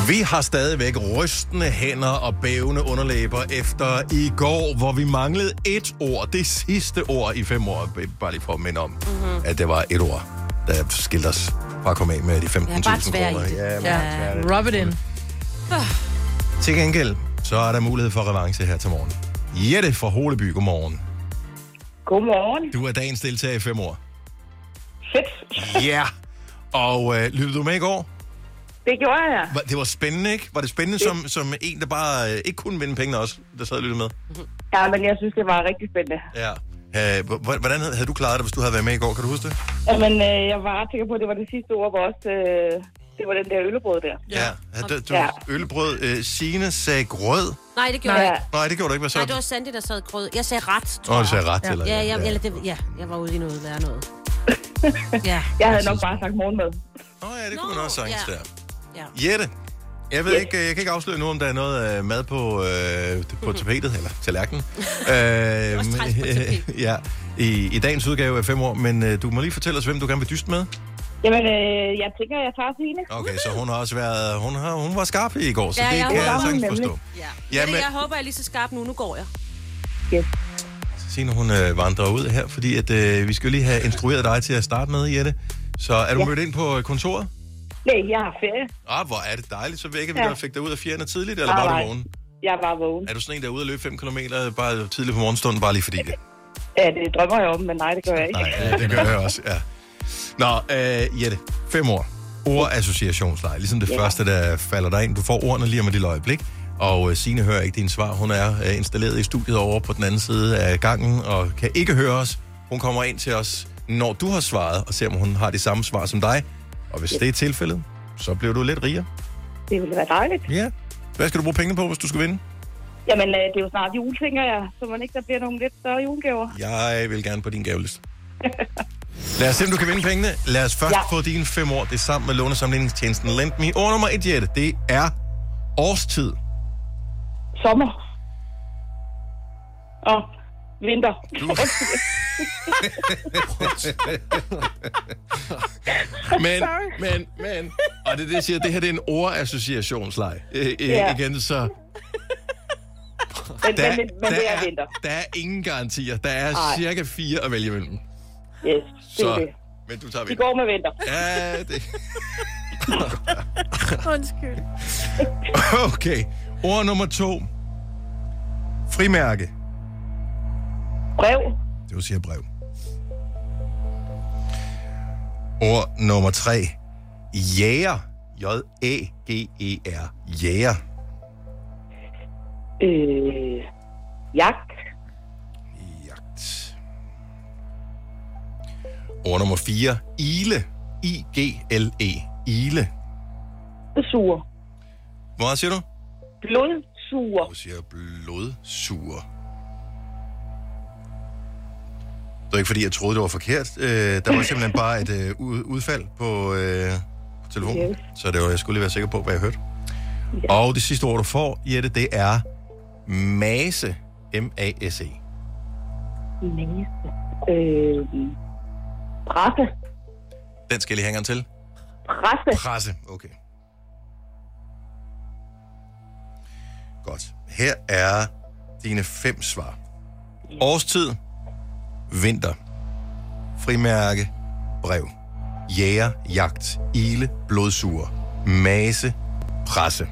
A: Vi har stadigvæk rystende hænder og bævende underlæber efter i går, hvor vi manglede et ord. Det sidste ord i fem år. Bare lige for at minde om,
C: Mhm.
A: mm-hmm. at det var et ord, der skilte os fra at komme af med de 15.000
C: Ja, bare tvær
A: kroner.
C: i det.
A: Ja,
C: Ja.
A: ja.
C: Rub it in.
A: Til gengæld, så er der mulighed for revanche her til morgen. Jette fra Holeby, godmorgen.
I: Godmorgen.
A: Du er dagens deltager i fem år.
I: Fedt.
A: Ja. Og øh, lyttede du med i går?
I: Det gjorde jeg.
A: Var- Det var spændende, ikke? Var det spændende
I: Det-
A: som, som en, der bare øh, ikke kunne vinde pengene også, der sad og lyttede med?
I: Ja, men jeg synes, det var rigtig spændende.
A: Ja. Øh, h- h- Hvordan havde havde du klaret det, hvis du havde været med i går? Kan du huske det?
I: Jamen, øh, jeg var ret sikker på, at det var det sidste ord, hvor også... Øh, det var den der øllebrød der.
A: Ja. Havde du, du
I: Ja.
A: ølbrød, øh, Signe sagde grød.
D: Nej, det gjorde jeg ikke.
A: Nej, det gjorde du ikke. Hvad
D: Nej,
A: sagde
D: det var Sandy, der sad grød. Jeg sagde ret, tror
A: Åh, du sagde
D: jeg.
A: ret,
D: ja.
A: eller-
D: Ja,
A: ja,
D: ja,
A: ja.
D: eller det, ja, jeg var ude i noget værre noget. Ja.
I: Jeg havde nok bare sagt morgenmad.
A: Åh oh, ja, det kunne man også sagtens
I: ja.
A: der. Jette, jeg ved ikke, øh, jeg kan ikke afsløre nu, om der er noget øh, mad på, øh, på tapetet, eller tallerkenen. øh, men- ja, i, i dagens udgave af fem år, men øh, du må lige fortælle os, hvem du gerne vil dyste med.
I: Jamen, øh, jeg tænker, jeg tager Signe.
A: Okay, så hun har også været, hun, har, hun var skarp i går, så
D: Ja,
A: det
D: ja,
A: kan
D: hun
A: jeg
D: var hun
A: sagtens
D: nemlig.
A: forstå.
D: Ja.
A: Jamen-
D: Jamen. Jeg håber, jeg er lige så skarp nu. Nu går jeg.
A: Signe, hun øh, vandrer ud her, fordi at, øh, vi skal jo lige have instrueret dig til at starte med, Jette. Så er du
I: Ja.
A: ja. mødt ind på øh, kontoret?
I: Nej, jeg har ferie.
A: Ah, hvor er det dejligt, så vækker vi
I: Ja.
A: ja. fik dig ud af fjerne tidligt, eller var
I: Nej,
A: du
I: nej.
A: vågen?
I: Jeg var vågen.
A: Er du sådan en, der er ude at løbe 5 km bare tidligt på morgenstunden, bare lige fordi det?
I: Ja, det drømmer jeg om, men nej, det gør jeg ikke.
A: Nej, ja, det gør jeg også, ja. Nå, øh, Jette, fem år. Ordassociationsleje, ligesom det
I: Ja.
A: første, der falder dig ind. Du får ordene lige om et lille øjeblik, og øh, Signe hører ikke dine svar. Hun er øh, installeret i studiet over på den anden side af gangen, og kan ikke høre os. Hun kommer ind til os, når du har svaret, og ser, om hun har det samme svar som dig. Og hvis
I: Ja.
A: det er tilfældet, så bliver du lidt rigere.
I: Det ville være dejligt.
A: Ja. Hvad skal du bruge pengene på, hvis du skal vinde?
I: Jamen, øh, det er jo snart jul, tænker jeg. Så man ikke, der bliver nogle lidt større julegaver.
A: Jeg vil gerne på din gaveliste. Lad os se, om du kan vinde pengene. Lad os først ja. få dine fem år. Det er sammen med lånesamlingstjenesten Lendme. Ord nummer et, Jette, det er årstid.
I: Sommer. Og vinter.
A: Men, men, men... Og det er det, jeg siger, det her det er en ordassociationsleg. Øh, øh,
I: Ja.
A: Igen, så...
I: Men- men- men det er vinter.
A: der er ingen garantier. Der er
I: Nej.
A: cirka fire at vælge imellem.
I: Yes, det er
A: Så,
I: det.
A: men du tager
I: Vi
A: vinter.
I: går med vinter.
A: Ja, det...
I: Undskyld.
A: Okay. Ord nummer to. Frimærke.
I: Brev.
A: Det vil sige brev. Ord nummer tre. Jæger. J-A-G-E-R. Jæger.
I: Øh, jagt.
A: Jagt. Ord nummer 4. Ile. I-G-L-E. Ile.
I: Blodsuger.
A: Hvor meget siger du?
I: Blodsuger.
A: Du siger blodsuger. Det var ikke, fordi jeg troede, det var forkert. Øh, der var simpelthen bare et øh, ud- udfald på, øh, på telefonen.
I: Yes.
A: Så det var, jeg skulle lige være sikker på, hvad jeg hørte. Og det sidste ord, du får, Jette, det er mase. M-A-S-E.
I: Næse. Øh, presse.
A: Den skal jeg lige hænge an til.
I: Presse.
A: Presse, okay. Godt. Her er dine fem svar. Årstid, vinter, frimærke, brev, jæger, jagt, ile, blodsuger, mase, presse.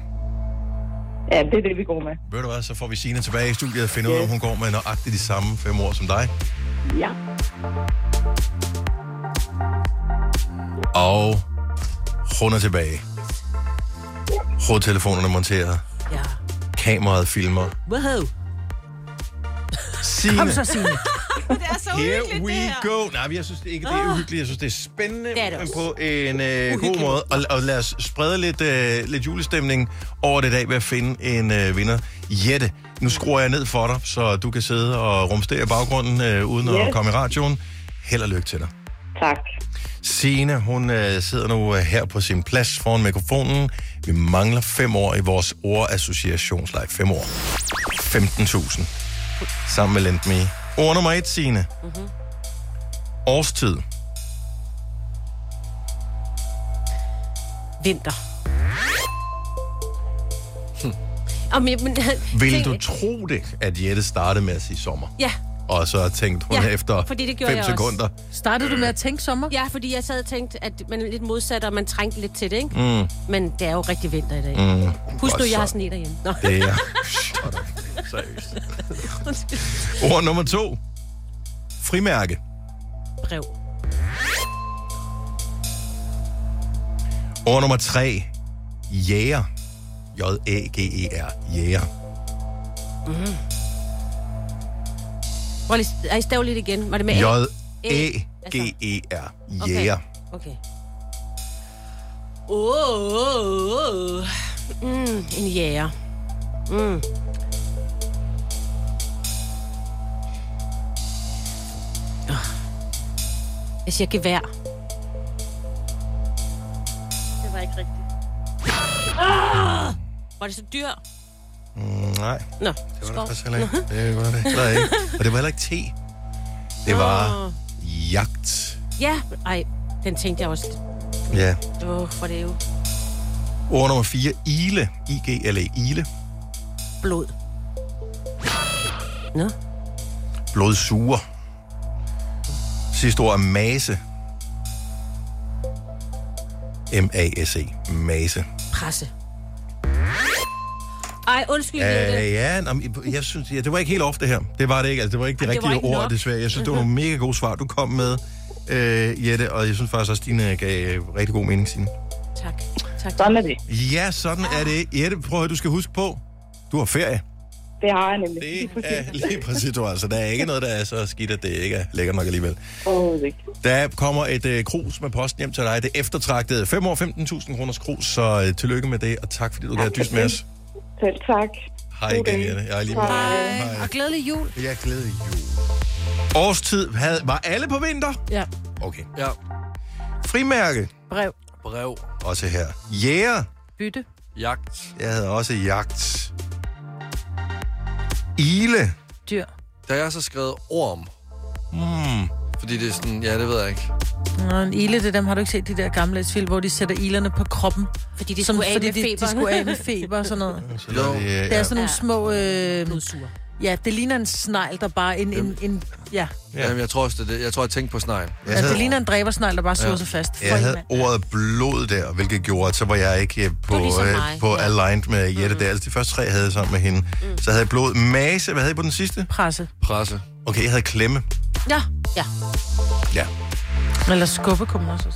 I: Ja, det er det, vi går med.
A: Ved du hvad, så får vi Signe tilbage i studiet og finde ud af, om hun går med nøjagtigt de samme fem ord som dig.
I: Ja.
A: Og hun er tilbage. Hovedtelefonerne monteret.
D: Ja.
A: Kameraet filmer.
D: Wow.
A: Signe.
D: Kom så, Signe. det er så
A: Here
D: uhyggeligt,
A: we
D: det her.
A: go. Nej, men jeg synes det ikke, det er
D: Ah.
A: uhyggeligt. Jeg synes, det er spændende,
D: Det er det
A: men
D: også.
A: på en øh, god måde. Og, og lad os sprede lidt, øh, lidt julestemning over det i dag ved at finde en øh, vinder. Jette, nu skruer jeg ned for dig, så du kan sidde og rumstere i baggrunden øh, uden yes.
I: Yes.
A: at komme i radioen. Held og lykke til dig.
I: Tak.
A: Signe, hun øh, sidder nu øh, her på sin plads foran mikrofonen. Vi mangler fem år i vores ordassociationsleg. Fem år. 15.000. Sammen med Lendme. Ord nummer et, Signe.
D: Mhm.
A: Årstid.
D: Vinter. Og men, men,
A: Hm. Vil
D: tænk-
A: du tro det, at Jette startede med at sige sommer?
D: Ja,
A: Og så tænkte hun ja, efter
D: fordi det gjorde
A: fem
D: jeg
A: sekunder.
D: Også.
C: Startede du med at tænke sommer?
D: Ja, fordi jeg sad og tænkte, at man er lidt modsat, og man trængte lidt til det, ikke?
A: Mm.
D: Men det er jo rigtig vinter i dag.
A: Mm.
D: Husk nu,
A: Godt
D: jeg har
A: så.
D: sne derhjemme. Nå.
A: Det er... Shut up. Seriøst.
D: Undskyld.
A: Ord nummer to. Frimærke.
D: Brev.
A: Ord nummer tre. Jæger. J-A-G-E-R. Jæger.
D: Mm. Prøv lige, ej, stav lidt igen. Var det med A?
A: E
D: Altså.
A: J-A-G-E-R. Jæger.
D: Okay. Åh, åh, åh, åh. Mm, en jæger. Mm. Ah. Jeg siger gevær.
K: Det var ikke rigtigt.
D: Ah! Var det så dyr?
A: Mm, nej.
D: Nå,
A: Det var
D: skov.
A: det faktisk heller ikke. Det var det heller ikke. Og det var heller ikke te. Det var
D: Åh.
A: jagt.
D: Ja, ej, den tænkte jeg også.
A: Ja.
D: Åh, oh, hvor er det jo
A: Ord nummer 4. Ile. I-G-L-E. E. Ile.
D: blod.
A: Blodsuger. Sidste ord er mase. M-A-S-E. E. Mase.
D: Presse. Ej, undskyld,
A: Ja,
D: Jette.
A: ja, nå, men jeg synes, ja, det var ikke helt ofte det her. Det var det ikke, altså det var ikke det
D: Ej, det var
A: rigtige
D: ikke
A: ord,
D: nok.
A: desværre. Jeg synes, det var nogle mega gode svar, du kom med, øh, Jette, og jeg synes faktisk også, dine gav øh, rigtig god mening, Signe.
D: Tak. tak.
I: Sådan er det.
A: Ja, sådan
D: Ah.
A: er det. Jette, prøv at høre, du skal huske på, du har ferie.
I: Det har jeg nemlig. Det
A: Ja, lige præcis, du har. altså, der er ikke noget, der er så skidt, at det ikke er lækkert nok alligevel.
I: Overhovedet ikke.
A: Der kommer et øh, krus med posten hjem til dig. Det eftertragtede 5 år 15.000 kroners krus, så øh, tillykke med det, og tak fordi du gad dyst med os.
I: Selv tak.
A: Hej igen, Jette. Jeg er lige med.
F: Hej. Og glædelig jul.
A: Jeg glæder jul. Årstid havde, var alle på vinter?
C: Ja.
A: Okay.
B: Ja.
A: Frimærke.
C: Brev.
B: Brev.
A: Også her. Jæger. Yeah.
C: Bytte.
B: Jagt.
A: Jeg havde også jagt. Ile.
C: Dyr.
B: Der er jeg så skrevet orm.
A: Mm.
B: Fordi det er sådan, ja, det ved jeg ikke.
C: Nå, en ile, det er dem har du ikke set de der gamle film, hvor de sætter ilerne på kroppen.
D: Fordi de skulle af
C: fordi
D: med
C: de,
D: feberen.
C: de skulle af med feber og sådan noget.
A: Så jo. Det, øh,
C: Det er sådan nogle små... Øh, ja, det ligner en snegl, der bare... En, en, en, ja.
B: Ja. Jamen, jeg tror også, det, er det. Jeg tror, jeg tænkte på snegl.
A: Jeg
C: ja,
A: havde-
C: det ligner en dræbersnegl, der bare suger
A: Ja.
C: sig fast. For
A: Jeg
C: en
A: havde
C: mand.
A: ordet blod der, hvilket gjorde, at så var jeg ikke øh, på,
C: ligesom
A: øh,
C: mig,
A: på
C: ja.
A: aligned med Jette der. Altså, de første tre havde jeg sammen med hende. Mm. Så havde jeg blod. Mase. Hvad havde jeg på den sidste?
C: Presse.
B: Presse.
A: Okay, jeg havde klemme.
D: Ja, ja.
A: Ja.
C: Eller skubbe, kunne man også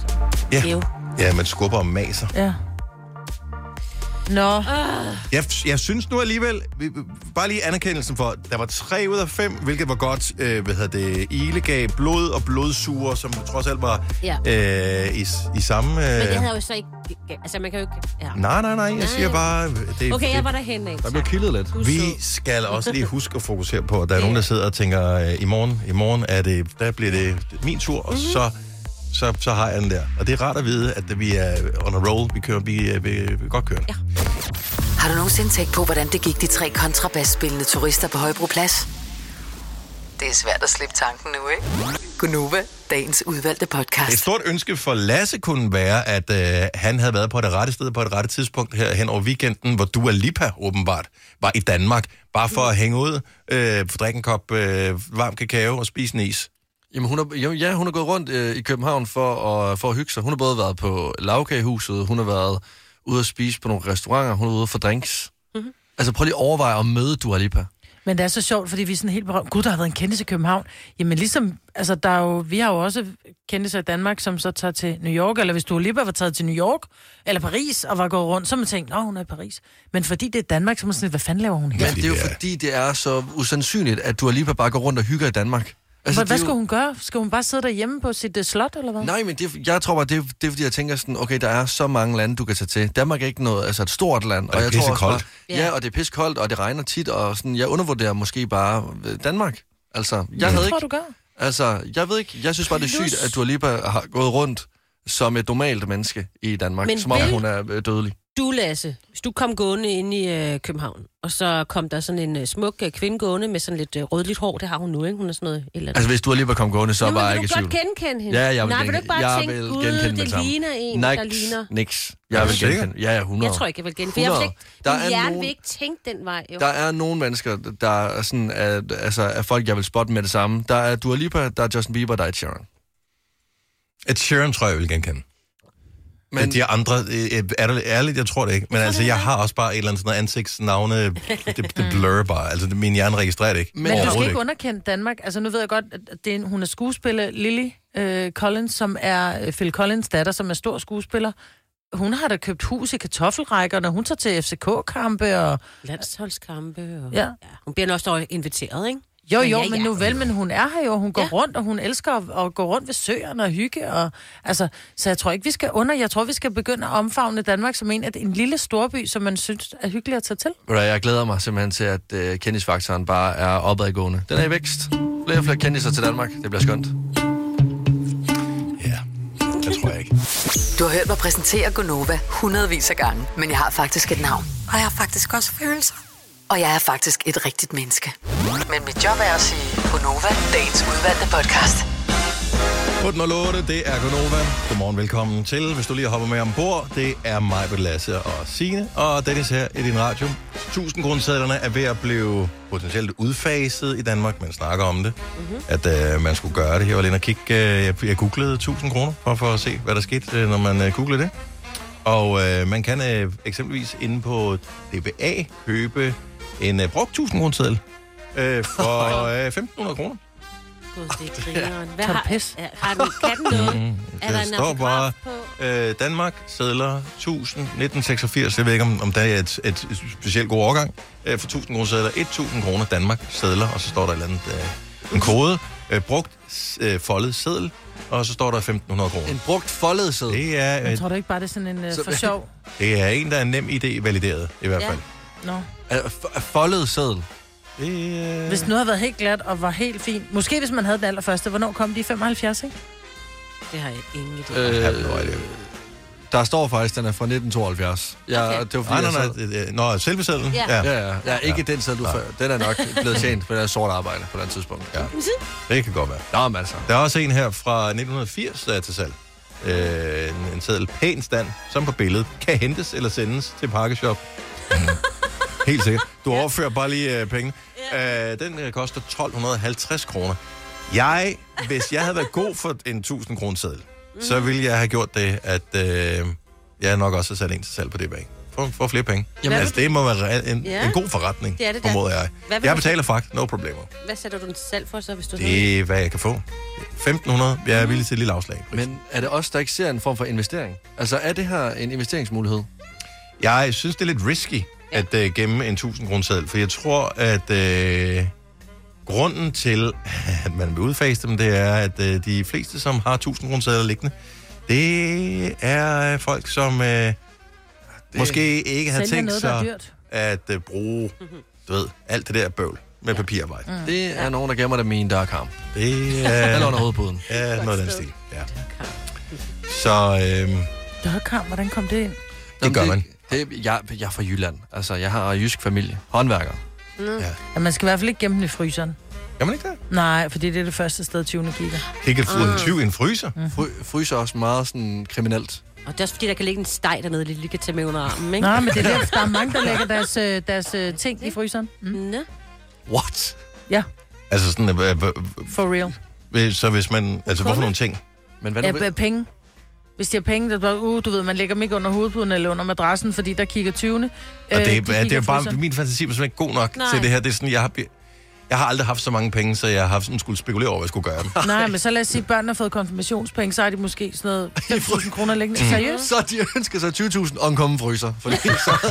C: sige.
A: Ja, ja man skubber og maser.
C: Ja. Nå. Ah.
A: Jeg, jeg synes nu alligevel, vi- vi- bare lige anerkendelsen for, at der var tre ud af fem, hvilket var godt, øh, hvad hedder det, Ile gav blod og blodsuger, som trods alt var
D: Ja.
A: øh, i, i samme... Øh,
D: Men det havde jeg jo så ikke... Altså, man kan jo ikke... Ja.
A: Nej, nej, nej, jeg siger bare... Det,
D: Okay, jeg
A: det-
D: var derhen af.
B: kildet lidt.
A: Vi skal også lige huske at fokusere på, at der er nogen, der sidder og tænker, øh, i morgen, i morgen er det, der bliver det min tur, og så, så, så har jeg den der. Og det er rart at vide, at vi er on a roll, vi kører, vi, er- vi, vi er godt kørende. Ja.
E: Har du nogensinde tænkt på, hvordan det gik de tre kontrabasspillende turister på Højbroplads? Det er svært at slippe tanken nu, ikke? Gunova, dagens udvalgte podcast.
A: Et stort ønske for Lasse kunne være, at øh, han havde været på det rette sted på et rette tidspunkt her hen over weekenden, hvor Dua Lipa åbenbart var i Danmark, bare for at hænge ud, øh, drikke en kop øh, varm kakao og spise en is.
B: Jamen, hun er, jamen, ja, hun er gået rundt øh, i København for at, for at hygge sig. Hun har både været på lavkagehuset, hun har været ude at spise på nogle restauranter, hun er ude for drinks. Mm-hmm. Altså, prøv lige at overveje at møde Dua Lipa.
C: Men det er så sjovt, fordi vi er sådan helt berømt. Gud, der har været en kendelse i København. Jamen ligesom, altså der er jo, vi har jo også kendelse i Danmark, som så tager til New York, eller hvis du lige var taget til New York, eller Paris, og var gået rundt, så har man tænkt, nå, hun er i Paris. Men fordi det er Danmark, så er man sådan, lidt, hvad fanden laver hun her?
B: Men altså, det er jo fordi, det er så usandsynligt, at Dua Lipa bare går rundt og hygger i Danmark.
C: Altså,
B: det er
C: hvad skal
B: jo-
C: hun gøre? Skal hun bare sidde derhjemme på sit uh, slot, eller hvad?
B: Nej, men det, jeg tror bare, det, er- det er fordi, jeg tænker sådan, okay, der er så mange lande, du kan tage til. Danmark er ikke noget, altså et stort land. Og,
A: det er
B: jeg tror også bare,
A: pissekoldt.
B: Ja, og det er pisse koldt, og det regner tit, og sådan, jeg undervurderer måske bare øh, Danmark. Altså, jeg
A: Mm.
C: Hvad
B: havde
C: tror
B: ikke...
C: du gør?
B: Altså, jeg ved ikke, jeg synes bare, det er
C: Plus-
B: sygt, at Dua Lipa har gået rundt som et normalt menneske i Danmark,
D: Men
B: som om
D: vil-
B: hun er øh, dødelig.
D: Du, Lasse, hvis du kom gående ind i øh, København, og så kom der sådan en øh, smuk øh, kvinde gående med sådan lidt øh, rødligt hår, det har hun nu, ikke? Hun er sådan noget et eller andet.
B: Altså, hvis Dua Lipa kom gående, så
D: Jamen,
B: var
D: vil
B: jeg
D: du
B: ikke i
D: godt
B: tvivl.
D: genkende hende?
B: Ja, jeg vil
D: Nej, vil du ikke
B: genkende-
D: bare
B: jeg
D: tænke,
B: vil
D: "Gud,
B: genkende
D: det
B: med sammen."
D: ligner en,
B: Niks,
D: der ligner-
B: Niks.
D: Er
B: Jeg
D: du
B: vil
D: sikker?
B: genkende. Ja, ja, 100.
D: Jeg tror ikke, jeg vil genkende, for jeg vil
B: 100.
D: slet ikke, der
B: Der er
D: min hjerne
B: nogen-
D: vil ikke tænke den vej, jo.
B: Der er nogle mennesker, der er sådan, at, altså, er folk, jeg vil spotte med det samme. Der er Dua Lipa, der er Justin Bieber, der er Ed Sheeran.
A: Ed Sheeran tror jeg, jeg vil genkende. Men de andre, øh, øh, er det ærligt, jeg tror det ikke. Men altså, jeg har også bare et eller andet sådan noget ansigtsnavne, det, det blurrer bare. Altså, det, min hjerne registrerer det ikke.
C: Men du skal
A: Overhovedet
C: ikke underkende Danmark. Altså, nu ved jeg godt, at det er en, hun er skuespiller, Lily øh, Collins, som er øh, Phil Collins' datter, som er stor skuespiller. Hun har da købt hus i kartoffelrækker, når hun tager til FCK-kampe og...
D: Landsholdskampe og...
C: Ja.
D: Hun bliver nok også inviteret, ikke?
C: Jo, jo,
D: ja, ja.
C: men nu vel, men hun er her jo, hun går ja. rundt, og hun elsker at, at gå rundt ved søerne og hygge, og, altså, så jeg tror ikke, vi skal under, jeg tror, vi skal begynde at omfavne Danmark som en, at en lille storby, som man synes er hyggelig at tage til.
B: Ved du hvad, Jeg glæder mig simpelthen til, at øh, kendisfaktoren bare er opadgående. Den er i vækst. Flere og flere kendiser til Danmark. Det bliver skønt.
A: Det tror jeg ikke.
E: Du har hørt mig præsentere Gunova hundredvis af gange, men jeg har faktisk et navn. Og
Q: Oh
E: jeg har faktisk også følelser. Og jeg er faktisk et rigtigt menneske. Men mit job er at sige Gunova, dagens udvalgte podcast.
A: På den 08, det er Gonova. Godmorgen, velkommen til. Hvis du lige hopper med ombord, det er mig, Britt, Lasse og Signe og Dennis her i din radio. 1000 grundsædlerne er ved at blive potentielt udfaset i Danmark. Man snakker om det, mm-hmm. at øh, man skulle gøre det. Jeg var lige inde og kigge. Øh, jeg, jeg googlede 1000 kroner for, for at se, hvad der skete, øh, når man øh, googlede det. Og øh, man kan øh, eksempelvis inde på DBA købe en øh, brugt 1000 kroner øh, for øh, 1500 kroner.
D: Gud, det er grineren. Hvad
C: Tag
D: har,
C: pis.
D: er, har den, kan den noget?
C: Mm.
D: er der
A: Der
D: en
A: Øh, står
D: autograf
A: bare,
D: på?
A: øh, Danmark sædler 1000, 1986, jeg ved ikke, om, om det er et, et specielt god overgang, øh, for 1000 kroner sædler, 1000 kroner Danmark sædler, og så står der et eller andet, øh, en kode, øh, brugt øh, foldet sædel, og så står der 1500 kroner.
B: En brugt foldet sædel?
A: Det er,
C: Jeg
A: øh,
C: tror du ikke bare, det er sådan en øh,
A: Så-
C: for sjov?
A: det er en, der er nem idé valideret, i hvert
C: Ja.
A: fald.
C: Nå.
B: Er- f- er Foldet sædel.
A: øh,
C: Hvis noget havde været helt glat og var helt fint. Måske hvis man havde den allerførste. Hvornår kom de? I 75, ikke?
D: Det har jeg ingen idé.
B: Øh, der står faktisk, den er fra 1972. Ja, okay. det var fordi,
A: Nej, nej,
B: jeg
A: nej. det- øh, Nå, selve sædlen?
B: Ja. Ja, ja. Ja, ikke den sædel, du
A: Nej.
B: før. Den er nok blevet tjent på det her sort arbejde på det tidspunkt. Ja.
A: Det kan godt være.
B: Nå, men altså.
A: Der er også en her fra 1980, der er til salg. Øh, en- en sædel pæn stand, som på billedet kan hentes eller sendes til pakkeshop. Helt sikkert. Du overfører bare lige øh, penge. Øh, den øh, koster 1250 kroner. Jeg, hvis jeg havde været god for en 1000 kroner sædel,
D: Mhm.
A: så ville jeg have gjort det, at øh, jeg nok også har sat en til salg på det bag. For, for flere penge. Jamen,
D: Hvad
A: altså, det må være re- en,
D: Ja.
A: en god forretning,
D: Det er det da.
A: formoder jeg.
D: Hvad vil
A: Jeg
D: du-
A: betaler fragt, no problemer.
D: Hvad sætter du den selv for så, hvis du...
A: Det er, hvad jeg kan få. 1500, jeg er villig til et lille afslag.
B: Men er det os, der ikke ser en form for investering? Altså, er det her en investeringsmulighed?
A: Jeg synes, det er lidt risky at øh, gemme en 1000 kroner seddel, for jeg tror, at øh, grunden til, at man vil udfase dem, det er, at øh, de fleste, som har 1000 kroner sedler liggende, det er øh, folk, som øh, det... måske ikke har
C: Sælger
A: tænkt
C: noget, der er
A: sig
C: dyrt.
A: at øh, bruge, du ved, alt det der bøvl med ja. papirarbejde.
B: Mm. Det er nogen, der gemmer dem i en dørkamp.
A: Det er...
B: Eller under hovedpuden.
A: Ja, noget af den stil. Ja. Så øh,
C: Dørkam, hvordan kom det ind?
B: det gør man. Det, det, jeg, jeg er fra Jylland. Altså, jeg har jysk familie. Håndværker.
C: Mm.
A: Ja.
C: ja. man skal i hvert fald ikke gemme den i fryseren.
A: Kan man ikke det?
C: Nej, fordi det er det første sted, 20 kigger.
A: Ikke
C: Ah.
A: en 20 i en fryser?
C: Mm.
B: Fry, fryser er også meget sådan kriminelt.
D: Og det er også fordi, der kan ligge en steg dernede, de lige kan tage med under armen, ikke?
C: Nej, men det er der, der er mange, der lægger deres, øh, deres øh, ting i fryseren. Mm.
D: Nå.
B: What?
C: Ja,
A: altså sådan, øh, øh, øh,
C: for real.
A: Hvis- Så hvis man... Altså, hvorfor nogle ting?
B: Men
C: Hvad ja, penge. Hvis de har penge, der bare, uh, du ved, man lægger dem ikke under hovedpuden eller under madrassen, fordi der kigger 20'erne.
A: Og det, øh, det er jo bare... Min fantasi var simpelthen ikke god nok
C: Nej.
A: Nej. til det her. Det er sådan, jeg har... Jeg har aldrig haft så mange penge, så jeg har haft sådan, skulle spekulere over, hvad jeg skulle gøre dem.
C: Nej, men så lad os sige, at børnene har fået konfirmationspenge, så har de måske sådan noget 5.000 kroner liggende.
B: Mm.
C: Seriøst?
B: Så de ønsker sig 20.000 og en kommen fryser. Fordi så er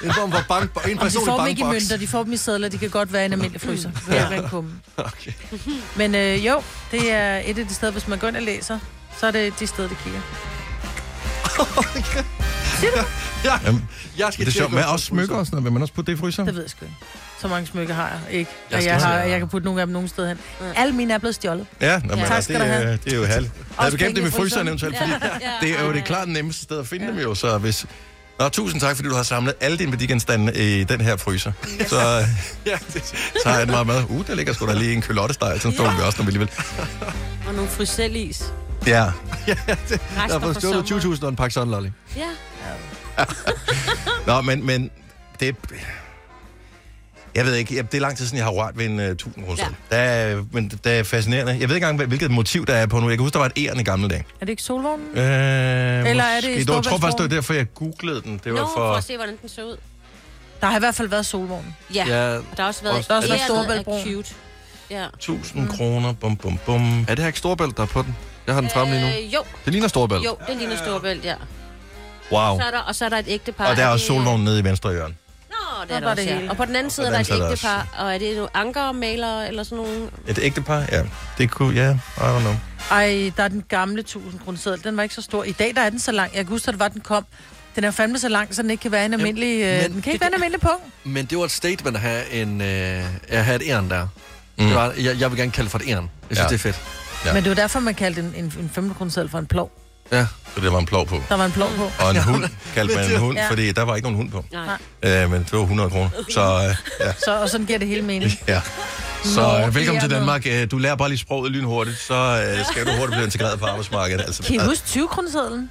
B: det en form for bank, en
C: Om de
B: personlig
C: får dem ikke i
B: bankboks.
C: mønter, de får dem i sædler, de kan godt være i en almindelig fryser. Det behøver ikke være en kumme.
B: Okay.
C: Men øh, jo, det er et af de steder, hvis man går ind og læser, så er det de steder, det kigger.
B: Ja,
A: Jamen,
B: jeg
A: det er sjovt, men også smykker og sådan noget. Vil man også putte det i fryseren?
C: Det ved jeg sgu ikke. Så mange smykker har jeg ikke.
A: Jeg
C: Og
A: skal
C: jeg,
A: til
C: har,
A: at-
C: jeg kan putte nogle af dem nogen sted hen. Alle mine er blevet stjålet.
A: Ja, nå, men,
C: Tak
A: altså,
C: skal
A: det,
C: du
A: er,
C: have.
A: det er jo halv. Havde vi gemt
C: penge
A: dem
C: i
A: i fryseren
C: fryseren.
A: eventuelt,
C: Ja,
A: fordi
C: ja,
A: det er jo det klart nemmeste sted at finde dem jo, så hvis... Nå, tusind tak, fordi du har samlet alle dine værdigenstande i den her fryser. Så øh,
B: Ja, det,
A: tager jeg den meget med. Uh, der ligger sgu da lige en kølottesteg, sådan står vi også, når vi alligevel...
D: Og nogle fryselis.
A: Ja,
B: jeg har fået stjålet 20.000 og en pakke sunlolly.
D: Ja.
A: Nå, men, men det... Jeg ved ikke, jeg- det er lang tid siden, jeg har rørt ved en uh, 1000 kroner. Ja. Der er, men det er fascinerende. Jeg ved ikke engang, hvad- hvilket motiv der er på nu. Jeg kan huske, der var et æren i gamle dage.
C: Er det ikke solvognen?
A: Øh, Eller
C: er det
A: Jeg tror faktisk, det var
C: Storebæltsbroen?
A: derfor, jeg googlede den. Det var
D: Nå, for
A: for...
D: at se, hvordan den så ud.
C: Der har i hvert fald været solvognen.
D: Ja.
A: Ja.
D: Og Der har også
A: Og
D: været
A: der er også
D: æren
C: Storebæltsbroen.
D: er cute. Ja.
A: 1000 kroner, bum, bum, bum.
B: Er det her ikke Storbælt, der er på den? Jeg har den fremme lige nu.
D: Øh, jo.
B: Det ligner Storbælt.
D: Jo, det ligner Storebælt, ja.
A: Wow.
D: Så er der, og så er der et ægtepar.
A: Og der er også
D: det-
A: solvognen nede i venstre hjørne.
D: Nå, det
C: Der
D: er
C: var
D: der også,
C: det
D: ja.
C: hele.
D: Og på den anden side er
A: Og
D: der
A: den
D: et
A: så er der
D: ægtepar, og er det nogle ankermalere eller sådan nogle?
A: Et ægtepar? Ja. Det kunne... Ja, I don't know.
C: Ej, der er den gamle 1000 kroner seddel. Den var ikke så stor. I dag der er den så lang. Jeg kan huske, at det var, den kom. Den er fandme så lang, så den ikke kan være en almindelig... Øh,
B: men
C: den kan ikke være en almindelig punkt.
B: Men det var et statement at have, en, øh, at have et æren der. Mm. Det var, jeg, jeg vil gerne kalde det for et æren. Jeg synes, ja. det er fedt.
C: Ja. Men det var derfor, man kaldte en, en, en 500 kroner seddel for en plov.
B: Ja.
A: Så det var en plov på.
C: Der var en plov på.
A: Og en hund kaldte man en hund,
C: Ja.
A: fordi der var ikke nogen hund på.
C: Nej.
A: Øh, men det var 100 kroner. Så øh, ja.
C: Så, og sådan giver det hele mening.
A: Ja.
C: Nå,
A: Så øh, velkommen
C: det er
A: til Danmark. Øh, Du lærer bare lige sproget lynhurtigt, så øh, skal du hurtigt blive integreret på arbejdsmarkedet. Altså,
C: Kan I huske 20 kroner sedlen?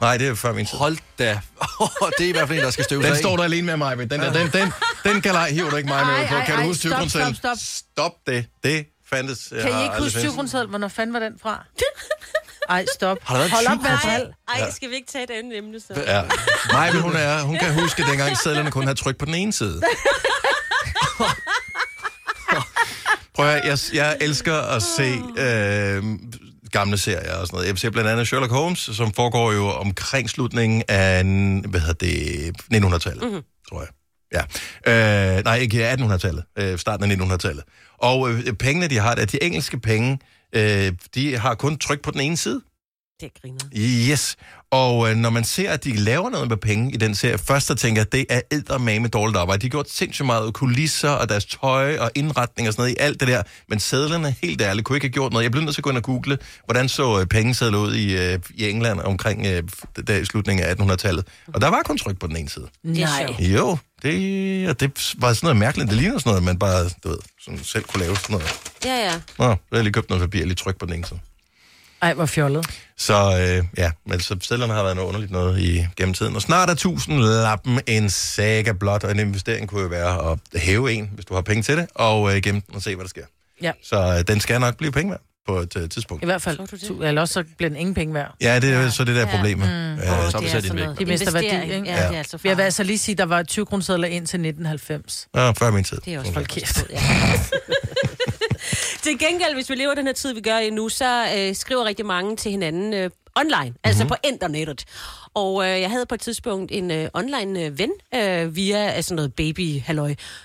A: Nej, det er før min tid.
B: Hold da. det er i hvert fald en, der skal støve
A: Den
B: sig
A: står
B: af.
A: der alene med mig, men den, der, den, den, den kan lege, hiver du ikke mig
C: Ej,
A: med på.
C: ej,
A: Kan du
C: ej,
A: huske 20
C: stop,
A: kroner selv?
C: stop, stop.
A: Stop det. Det fandtes. øh,
C: Kan I
A: har
C: ikke
A: aldrig
C: huske 20
A: findes.
C: kroner seddel? Hvornår fanden var den fra? Ej, stop.
A: Har der været en
C: Hold op
A: 20
C: med at
A: kroner
C: drille.
D: Ej,
A: Ja.
D: skal vi ikke tage et andet emne så?
A: Ja. Nej, men hun, er, hun kan huske, at dengang sædlerne kun havde tryk på den ene side. Prøv at høre, jeg, jeg elsker at se øh, gamle serier og sådan noget. Jeg ser blandt andet Sherlock Holmes, som foregår jo omkring slutningen af, hvad hedder det, 1900-tallet,
C: Mhm.
A: mm-hmm. tror jeg. Ja. Øh, nej, ikke 1800-tallet. Øh, starten af 1900-tallet. Og øh, pengene, de har, der, de engelske penge, øh, de har kun tryk på den ene side.
D: Det griner.
A: Yes. Og øh, når man ser, at de laver noget med penge i den serie, først så tænker jeg, at det er eddermame dårligt arbejde. De har gjort sindssygt meget af kulisser og deres tøj og indretning og sådan noget i alt det der. Men sædlerne, helt ærligt, kunne ikke have gjort noget. Jeg blev nødt til at gå ind og google, hvordan så øh, pengesedler ud i, øh, i England omkring øh, der i slutningen af 1800-tallet. Og der var kun tryk på den ene side.
C: Nej.
A: Jo, det, og det var sådan noget mærkeligt. Det ligner sådan noget, man bare du ved, sådan selv kunne lave sådan noget.
D: Ja, ja.
A: Nå, så har jeg lige købt noget papir og lige tryk på den ene side.
C: Ej, hvor fjollet.
A: Så øh, ja, men så sedlerne har været noget underligt noget i gennem tiden. Og snart er 1000 lappen en saga blot, og en investering kunne jo være at hæve en, hvis du har penge til det, og øh, gemme den og se, hvad der sker.
C: Ja.
A: Så øh, den skal nok blive penge værd på et øh, tidspunkt.
C: I hvert fald. Tu- Eller også så bliver den ingen penge værd.
A: Ja, det er jo så det der ja. problem.
C: Mm.
A: Ja.
B: Så er vi sat i væk.
C: De mister værdi,
D: Investering,
C: ikke?
D: ja, det er altså
C: Jeg vil altså lige sige, at der var 20 kroner ind til 1990.
A: Nå, før min tid.
D: Det er også
C: Hold kæft.
D: Til gengæld, hvis vi lever den her tid, vi gør i nu, så øh, skriver rigtig mange til hinanden øh, online, mm-hmm. altså på internettet. Og øh, jeg havde på et tidspunkt en øh, online øh, ven øh, via altså noget baby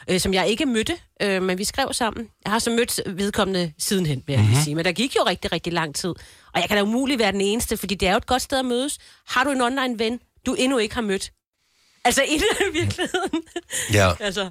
D: øh, som jeg ikke mødte, øh, men vi skrev sammen. Jeg har så mødt vedkommende sidenhen, vil jeg mm-hmm.
F: Mhm.
D: sige. Men der gik jo rigtig, rigtig lang tid. Og jeg kan da umuligt være den eneste, fordi det er jo et godt sted at mødes. Har du en online ven, du endnu ikke har mødt? Altså, inden i virkeligheden.
A: Ja.
D: altså,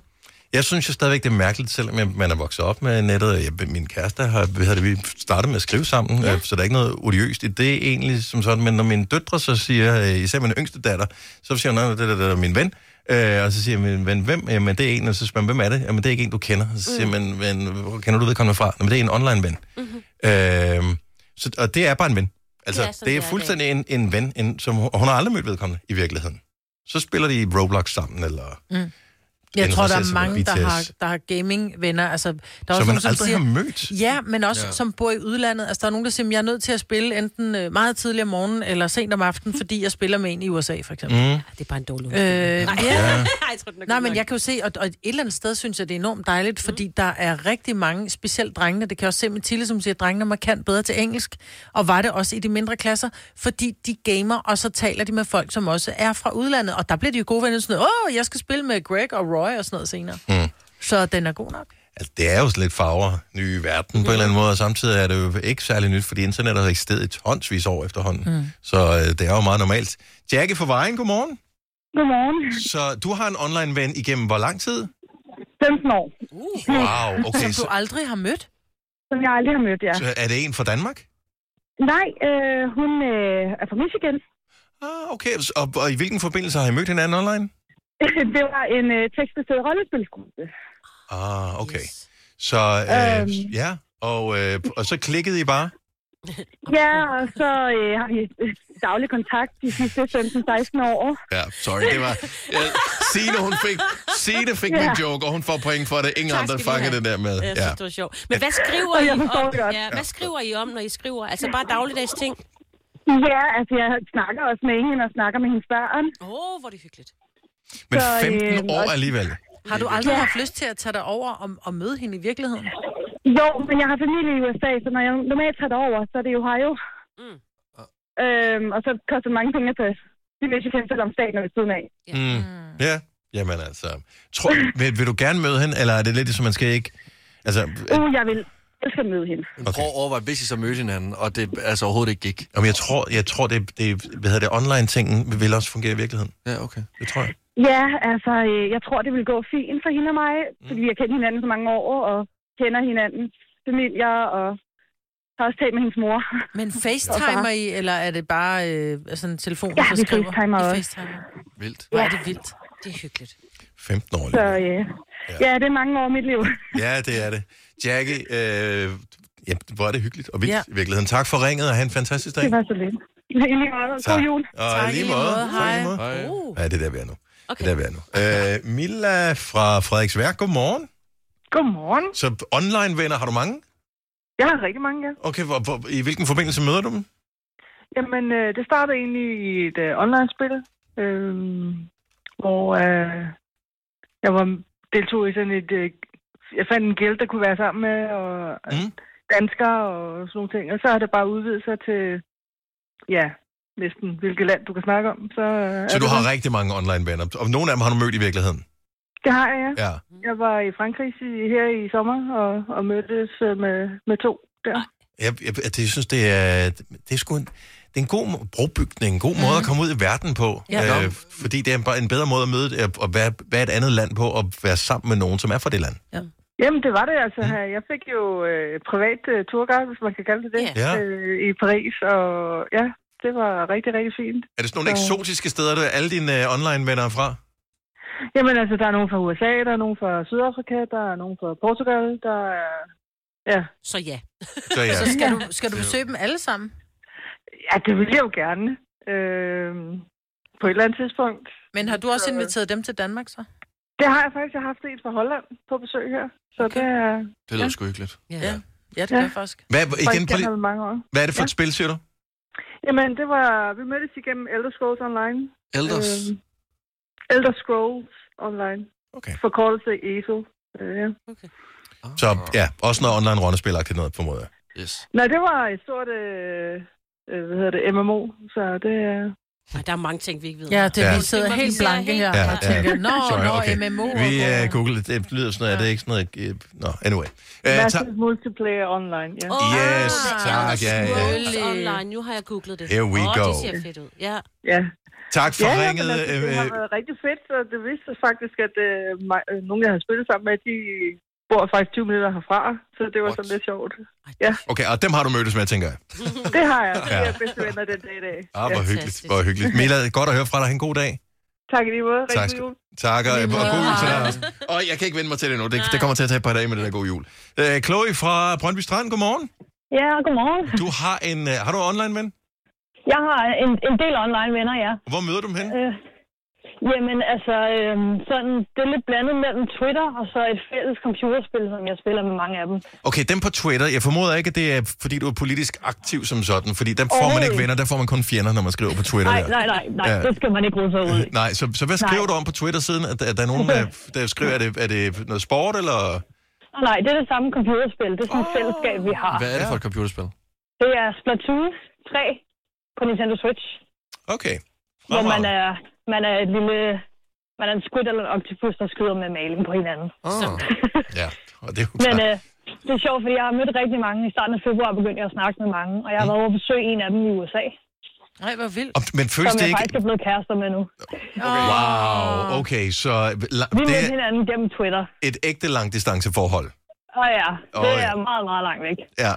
A: Jeg synes jo stadigvæk, det er mærkeligt, selvom jeg- man er vokset op med nettet. og Jeg, min kæreste har hvad hedder det, vi startet med at skrive sammen, ja. så der er ikke noget odiøst i det egentlig som sådan. Men når mine døtre så siger, øh, især min yngste datter, så siger hun, "Nå, det der, det der er min ven. Øh, og så siger min ven, hvem? Jamen, det er en, og så spørger man, hvem er det? Jamen, det er ikke en, du kender. Så siger
N: Mm.
A: man, men, hvor kender du vedkommende fra? Jamen, det er en online ven.
N: Mm-hmm.
A: Øh, så, og det er bare en ven. Altså,
N: Det er
A: ja,
N: sådan,
A: det
N: det
A: er
N: er i
A: fuldstændig en, en ven, en, som, og hun har aldrig mødt vedkommende i virkeligheden. Så spiller de Roblox sammen, eller...
C: Mm. Jeg tror, der
A: interesserer
C: er
A: sig for
C: mange, der
A: BTS.
C: har, der har gaming-venner. Altså, der er
A: Som
C: også
A: man
C: nogen,
A: aldrig
C: siger,
A: har mødt.
C: Ja, men også
A: Ja.
C: ja. som bor i udlandet. Altså, der er nogen, der siger, at jeg er nødt til at spille enten øh, meget tidligt om morgenen eller sent om aftenen, fordi jeg spiller med en i USA, for eksempel.
A: Mm.
D: Det er bare en dårlig
C: Øh, ja.
D: Nej.
A: Ja.
D: jeg tror, den er
C: Nej,
D: god
C: men
D: nok.
C: jeg kan jo se, og, og et eller andet sted synes jeg, det er enormt dejligt, fordi
I: Mm.
C: der er rigtig mange, specielt drengene, det kan jeg også se med Tille, som siger, at drengene er markant bedre til engelsk, og var det også i de mindre klasser, fordi de gamer, og så taler de med folk, som også er fra udlandet, og der bliver de jo gode venner, sådan noget, åh, jeg skal spille med Greg og Roy og sådan noget senere.
A: Mm.
C: Så den er god nok.
A: Altså, det er jo sådan lidt farver, nye verden på en eller anden måde, og samtidig er det jo ikke særlig nyt, fordi internettet har eksisteret i tonsvis år efterhånden. Mm. Så øh, det er jo meget normalt. Jackie fra Vejen, godmorgen.
I: Godmorgen.
A: Så du har en online ven igennem hvor lang tid?
I: 15 år.
A: Uh, Wow, okay,
C: Som
A: så-
C: du aldrig har mødt?
I: Som jeg aldrig har mødt, ja.
A: Så er det en fra Danmark?
I: Nej, øh, hun øh, er fra Michigan.
A: Ah, okay. Og, og i hvilken forbindelse har I mødt hinanden online?
I: det var en øh, tekstbaseret rollespilsgruppe.
A: Ah, okay. Yes. Så øh,
I: Øhm.
A: ja, og, øh, og så klikkede I bare?
I: Ja, og så øh, har vi øh, daglig kontakt de sidste 15-16 år.
A: Ja, sorry, det var... Ja, Signe, hun fik, Signe fik
I: Ja.
A: min joke, og hun får point for det. Ingen
D: Tak
A: andre
D: skal du
A: fanger
D: have.
A: det der med.
D: Jeg synes, det var sjovt. Men hvad skriver,
I: Og
D: I
I: jeg forstår det
D: om,
I: godt.
D: ja, hvad skriver I om, når I skriver? Altså bare dagligdags ting?
I: Ja, altså jeg snakker også med hende og snakker med hendes børn.
D: Åh, oh, hvor er det hyggeligt.
A: Men
I: Så, øh,
A: 15 år
I: og-
A: alligevel.
C: Har du aldrig
I: Ja.
C: haft lyst til at tage dig over og, og møde hende i virkeligheden?
I: Jo, men jeg har familie i USA, så når jeg normalt tager derover, så er det Ohio.
D: Mm.
I: Øhm, og så koster det mange penge at tage til Michigan, selvom staten er ved siden af.
A: Mm. Ja, jamen altså. Tror, vil, vil du gerne møde hende, eller er det lidt som man skal ikke... Altså,
I: Uh, jeg vil elske at møde hende.
B: Okay. Prøv at overveje, hvis I så mødte hinanden, og det altså overhovedet ikke gik.
A: Jamen, jeg tror, jeg tror det, det, hvad hedder det online-tingen vil også fungere i virkeligheden.
B: Ja, okay.
A: Det tror jeg.
I: Ja, altså, øh, jeg tror, det vil gå fint for hende og mig,
A: Mm.
I: fordi vi har kendt hinanden så mange år, og kender hinandens familier, og har også talt med hendes mor.
C: Men FaceTimer I, eller er det bare øh, sådan en telefon,
I: Ja,
C: så
I: vi
C: skriver?
I: facetimer
C: I
I: også.
C: facetimer.
A: Vildt.
C: Hvor er det vildt.
D: Det er hyggeligt.
A: 15 år
I: Så øh, ja, det er mange år i mit liv.
A: Ja, det er det. Jackie, øh, ja, hvor er det hyggeligt og vildt
I: Ja.
A: ja. i virkeligheden. Tak for ringet, og have en fantastisk dag.
I: Det var så lidt. I lige måde.
A: Tak.
I: God jul.
A: Og tak, lige måde. Tak, i lige måde. Uh. Ja, det er der, vi er nu. Okay. Det er der, vi er nu. Øh, Milla fra Frederiksværk, godmorgen.
G: Godmorgen.
A: Så online-venner, har du mange?
G: Jeg har rigtig mange, ja.
A: Okay, hvor, hvor, i hvilken forbindelse møder du dem?
G: Jamen, øh, det startede egentlig i et øh, online-spil, øh, hvor øh, jeg var deltog i sådan et... Øh, jeg fandt en gæld, der kunne være sammen med, og mm. danskere og sådan nogle ting. Og så har det bare udvidet sig til, ja, næsten hvilket land, du kan snakke om. Så, øh, er
A: Så du
G: det
A: har
G: sådan.
A: rigtig mange online-venner, og nogle af dem har du mødt i virkeligheden.
G: Det har jeg, ja.
A: Ja.
G: Jeg var i Frankrig i- her i sommer og, og mødtes øh, med, med to der.
A: Jeg, jeg, jeg, jeg synes, det er... Det er sgu en, det er en god må- brobygning, en god måde at komme ud i verden på.
F: Ja.
A: Øh, fordi det er en, bare en bedre måde at møde øh, og være, være et andet land på, og være sammen med nogen, som er fra det land.
G: Jamen, det var det altså.
A: Mm.
G: Jeg fik jo øh, privat øh, turguide, hvis man kan kalde det det,
A: Ja.
G: øh, i Paris. Og ja, det var rigtig, rigtig fint.
A: Er det sådan nogle eksotiske steder, der alle dine øh, online-venner er fra?
G: Jamen, altså, der er nogen fra USA, der er nogen fra Sydafrika, der er nogen fra Portugal, der er... Ja.
D: Så ja.
A: Så ja.
C: Så skal du, skal du besøge dem alle sammen?
G: Ja, det vil jeg jo gerne. Øh, på et eller andet tidspunkt.
C: Men har du også inviteret dem til Danmark så?
G: Det har jeg faktisk. Jeg har haft en fra Holland på besøg her. Så okay. det er...
B: Det lyder sgu hyggeligt.
C: Ja, ja. ja det gør jeg faktisk.
A: Hvad, igen, prøv
G: Faktisk
A: lige,
G: gennem mange år.
A: hvad er det for et spil, siger du?
G: Jamen, det var... Vi mødtes igennem Elder Scrolls Online.
B: Elders?
G: Øhm, Elder Scrolls Online.
A: Okay.
G: Forkortelse ESO. Øh, ja. okay.
A: Så ja, også noget online rollespilagtigt noget, formoder jeg.
B: Yes.
G: Nej, det var et stort... Øh, øh, hvad hedder det? MMO. Så det er...
D: Ej, der er mange ting, vi ikke ved.
C: Ja, det,
A: Ja.
C: vi sidder
D: Vi
C: helt
D: sidder
C: blanke
D: helt-
C: her og tænker, nå, nå, MMO. og
A: Vi
C: hvor-
A: uh, googlede, det lyder sådan noget, ja. det er ikke sådan noget... øh, Nå, no, anyway. Uh,
G: Massive multiplayer online, ja.
A: Yes, tak, ja, ja.
D: Scrolls online, nu har jeg googlet det.
A: Here we
D: Åh,
A: go.
D: det ser fedt ud. Ja.
G: Ja.
A: Tak for
G: ja, ja,
A: ringet,
G: men altså, det har
A: øh,
G: været rigtig fedt, så det viste sig faktisk, at øh, mig, øh, nogle, jeg har spillet sammen med, de bor faktisk 20 minutter herfra, så det var What? sådan lidt sjovt. Ja,
A: Okay, og dem har du mødtes med, tænker jeg.
G: det har jeg. Det
A: Ja.
G: er jeg bedste venner den dag i dag.
A: Ah, hvor hyggeligt, hvor hyggeligt. Mila, godt at høre fra dig. Ha' en god dag.
G: Tak i lige måde.
A: Tak,
G: Rigtig
A: skal-
G: jul.
A: Tak, og, og
G: Lige
A: god jul til dig
G: måde.
A: også. Og jeg kan ikke vende mig til det nu. Det, det kommer til at tage et par dage med det der god jul. Uh, Chloe fra Brøndby Strand, godmorgen.
H: Ja, godmorgen.
A: Du har en... Uh, har du online-ven?
H: Jeg har en, en del online venner, ja.
A: Hvor møder du dem hen?
H: Øh, jamen, altså, øh, sådan, det er lidt blandet mellem Twitter og så et fælles computerspil, som jeg spiller med mange af dem.
A: Okay, dem på Twitter. Jeg formoder ikke, at det er, fordi du er politisk aktiv som sådan. Fordi der får man
H: Overhovedet
A: ikke venner, der får man kun fjender, når man skriver på Twitter.
H: Nej,
A: der.
H: nej, nej, nej,
A: Ja.
H: det skal man ikke rode sig ud i.
A: Nej, så, så hvad
H: Nej.
A: skriver du om på Twitter siden? At, at der er nogen, der, der skriver, er det, er det noget sport, eller...
H: Nå, nej, det er det samme computerspil. Det er sådan et fællesskab, vi har.
B: Hvad er det for et computerspil?
H: Det er Splatoon 3 på Nintendo Switch,
A: Okay.
H: hvor man
A: Fremragende.
H: er, man er et lille... Man er en squid eller en octopus, der skyder med malen på hinanden.
A: Ah. Ja, og det er jo
H: Men
A: klart.
H: øh, det er sjovt, fordi jeg har mødt rigtig mange. I starten af februar begyndte jeg at snakke med mange, og jeg
A: Mm.
H: har været over at besøge en af dem i USA.
C: Nej, hvor vildt.
A: Og- men føles
H: som
A: det
H: jeg
A: ikke-
H: faktisk er blevet kærester med nu.
A: Okay. Wow, okay, så la-
H: Vi
A: det
H: mødte
A: er
H: hinanden gennem Twitter.
A: et ægte langdistanceforhold.
H: Og ja, det
A: Åh, ja.
H: er meget, meget langt væk.
A: Ja.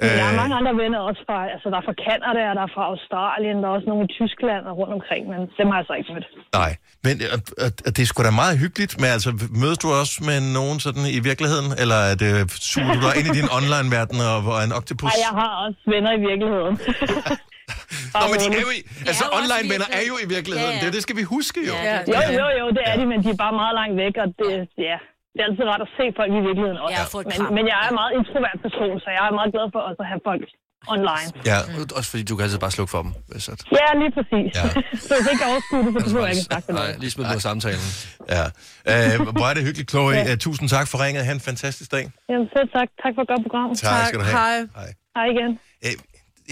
H: Men der er
A: Øh,
H: mange andre venner også fra, altså der er fra Kanada, og der er fra Australien, der er også nogle i Tyskland og rundt omkring, men dem har jeg så ikke mødt.
A: nej, men øh, øh, det er sgu da meget hyggeligt, men altså, mødes du også med nogen sådan i virkeligheden, eller er det, suger du dig ind i din online-verden og, og er en oktopus?
H: Og jeg har også venner i virkeligheden.
A: Nå, men de er jo i, altså online-venner er jo i virkeligheden, det, det skal vi huske jo.
H: Jo, jo, jo, det er de, men de er bare meget langt væk, og det, ja, det er altid rart at se folk i virkeligheden også.
B: Ja, få et
H: men,
B: kram.
H: men jeg er en meget introvert person, så jeg er meget glad for også at have folk online.
B: Ja. Også fordi du kan altid bare slukke for dem. Hvis at...
H: Ja, lige præcis. Ja. så hvis jeg ikke kan overskue det, så behøver jeg ikke snakke med
B: Nej, lige smid dem ud af samtalen.
A: Ja. Øh, hvor er det hyggeligt, Chloe. Ja. Tusind tak for ringet. Ha' en fantastisk dag.
H: Jamen, selv tak. Tak for et godt program.
A: Tak skal du have. Hej.
H: Hej igen.
A: Øh,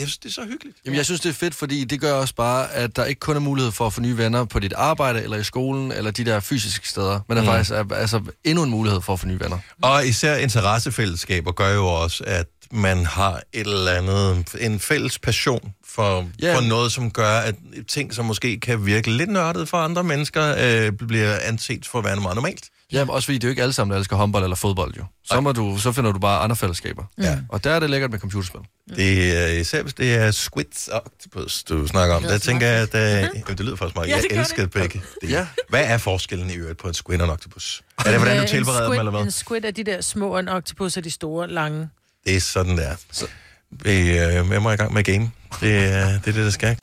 A: Jeg synes, det er så hyggeligt.
B: Jamen, jeg synes, det er fedt, fordi det gør også bare, at der ikke kun er mulighed for at få nye venner på dit arbejde, eller i skolen, eller de der fysiske steder, men der
A: Mm.
B: mm. faktisk er altså, endnu en mulighed for at få nye venner.
A: Og især interessefællesskaber gør jo også, at man har et eller andet, en fælles passion for, yeah. for noget, som gør, at ting, som måske kan virke lidt nørdet for andre mennesker, øh, bliver anset for at være meget normalt.
B: Jamen, også fordi det er jo ikke alle sammen, der elsker håndbold eller fodbold, jo. Så, må du, så finder du bare andre fællesskaber.
A: Ja. Mm.
B: Og der er det lækkert med computerspil.
A: Det er Øh, især, hvis det er squids og octopus, du snakker om.
B: Det
A: Der
B: lyder
A: tænker jeg, at øh, jamen, det lyder faktisk meget.
B: Ja,
A: Jeg
B: det gør
A: elsker
B: det.
A: begge. Ja. Hvad er forskellen i øvrigt på en squid og en octopus? Er det, hvordan
C: Øh,
A: du
C: en
A: tilbereder dem,
C: squid-
A: eller hvad?
C: En squid er de der små, og en octopus er de store, lange.
A: Det er sådan, der. Vi, øh, jeg må i gang med game. Det, øh, det er det, der skal.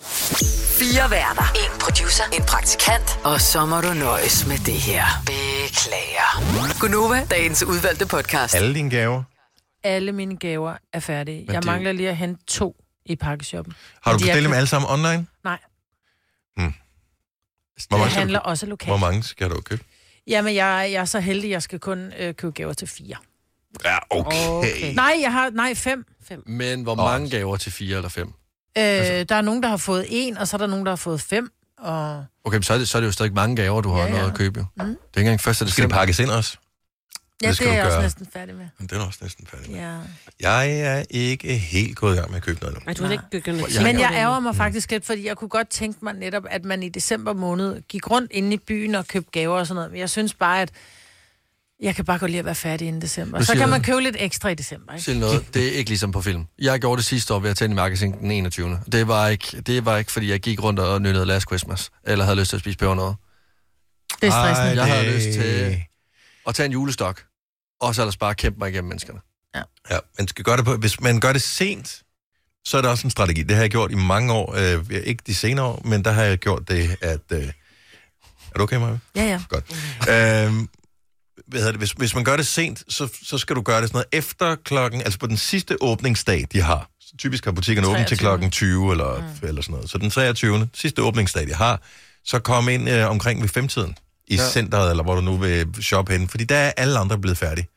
E: Fire værter. En producer. En praktikant. Og så må du nøjes med det her. Beklager. Gunova, dagens udvalgte podcast.
A: Alle dine gaver.
C: Alle mine gaver er færdige.
A: det
C: jeg
A: er jo-
C: mangler lige at hente to i pakkeshoppen.
A: Har du
C: Men de er
A: bestilt dem
C: købt-
A: alle sammen online?
C: Nej.
A: Hmm. Hvor
C: Jeg
A: mange, skal
C: handler
A: du,
C: også lokalt.
A: hvor mange skal du købe?
C: Jamen, jeg, jeg er så heldig, jeg skal kun øh, købe gaver til fire.
A: Ja, okay.
B: Okay.
C: Nej, jeg har... Nej, fem. fem.
B: Men hvor mange gaver til fire eller fem?
C: Øh,
A: Altså-
C: Der er nogen, der har fået en, og så er der nogen, der har fået fem. Og...
B: Okay, men så er det, så er det jo stadig mange gaver, du har ja, ja. noget at købe. Jo. Mm. Det er ikke engang første, det
A: Skal det pakkes ind også?
C: Ja, det,
A: skal
C: det er
A: du
C: jeg også
A: gøre.
C: næsten færdig med.
A: Men det er du også næsten færdig med.
C: Ja.
A: Jeg er ikke helt gået i gang med at købe noget endnu.
D: Nej, du har ikke begyndt
A: Jeg-
C: Men jeg ærger
B: Mm.
C: mig faktisk lidt, fordi jeg kunne godt tænke mig netop, at man i december måned gik rundt inde i byen og købte gaver og sådan noget. Men jeg synes bare, at jeg kan bare godt lide at være færdig inden december.
B: Du
C: Så
B: siger-
C: kan man købe lidt ekstra i december, ikke?
B: Til noget. Det er ikke ligesom på film. Jeg gjorde det sidste år ved at tænde i magasin den 21. Det var ikke, det var ikke fordi jeg gik rundt og nyttede Last Christmas, eller havde lyst til at spise pebernødder.
C: Det er stressende.
B: Jeg
C: Ej,
B: havde
C: det-
B: lyst til at tage en julestok, og så ellers bare kæmpe mig igennem menneskerne.
A: Ja, man skal gøre det på, hvis man gør det sent, så er det også en strategi. Det har jeg gjort i mange år. Øh, ikke de senere år, men der har jeg gjort det, at... Øh, er du okay, Maja?
C: Ja, ja.
A: Godt. Øhm, hvad hedder det? Hvis, hvis man gør det sent, så, så skal du gøre det sådan noget efter klokken, altså på den sidste åbningsdag, de har. Så typisk har butikkerne åbent til
N: 23.
A: klokken 20 eller, mm. eller sådan noget. Så den 23. sidste åbningsdag, de har, så kom ind øh, omkring ved femtiden i
N: Ja.
A: ja. centret, eller hvor du nu vil shoppe henne, fordi der er alle andre blevet færdige.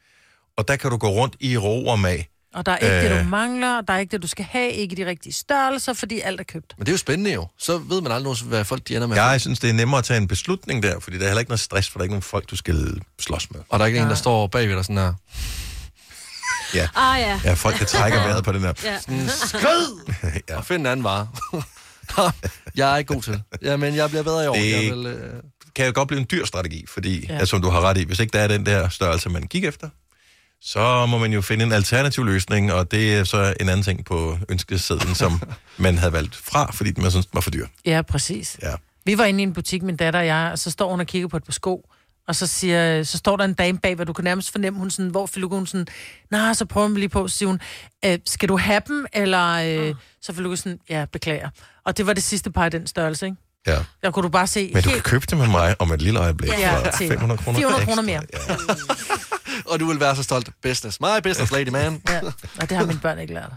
A: Og der kan du gå rundt i ro og mag.
C: Og der er ikke øh... det,
A: Øh.
C: du mangler, og der er ikke det, du skal have, ikke de rigtige størrelser, fordi alt er købt.
B: Men det er jo spændende jo. Så ved man aldrig, nogen, hvad folk de ender med.
A: Jeg synes, det er nemmere at tage en beslutning der, fordi der er heller ikke noget stress, for der er ikke nogen folk, du skal slås med.
B: Og der er ikke ja. en, der står bagved dig sådan her.
A: Ja.
D: Ah, ja.
A: Ja, folk, der trækker vejret på den her.
D: Ja.
B: Skrid! ja. Og find en anden vare. jeg er ikke god til. Ja, men jeg bliver bedre i år.
A: Det-
B: Jeg vil, øh...
A: kan jo godt blive en dyr strategi, fordi,
B: Ja.
A: ja. altså, som du har ret i, hvis ikke der er den der størrelse, man gik efter, så må man jo finde en alternativ løsning, og det er så en anden ting på ønskesedlen, som man havde valgt fra, fordi man synes den var for dyr.
C: Ja, præcis.
A: Ja.
C: Vi var inde i en butik, min datter og jeg, og så står hun og kigger på et par sko, og så, siger, så står der en dame bag, hvor du kan nærmest fornemme, hun sådan, hvor Filuka, hun sådan, nej, så prøver hun lige på, så siger hun, "Øh, skal du have dem, eller øh, så Filuka sådan, ja, beklager. Og det var det sidste par i den størrelse, ikke?
A: Ja.
C: Der kunne du bare se
A: Men du kan købe det med mig om et lille øjeblik
C: ja,
A: for
C: til
A: 500 kroner.
C: 400
A: ekstra.
C: kroner mere. Ja.
B: Og du vil være så stolt. Business. My business, lady man.
C: ja. Og det har mine børn ikke lært.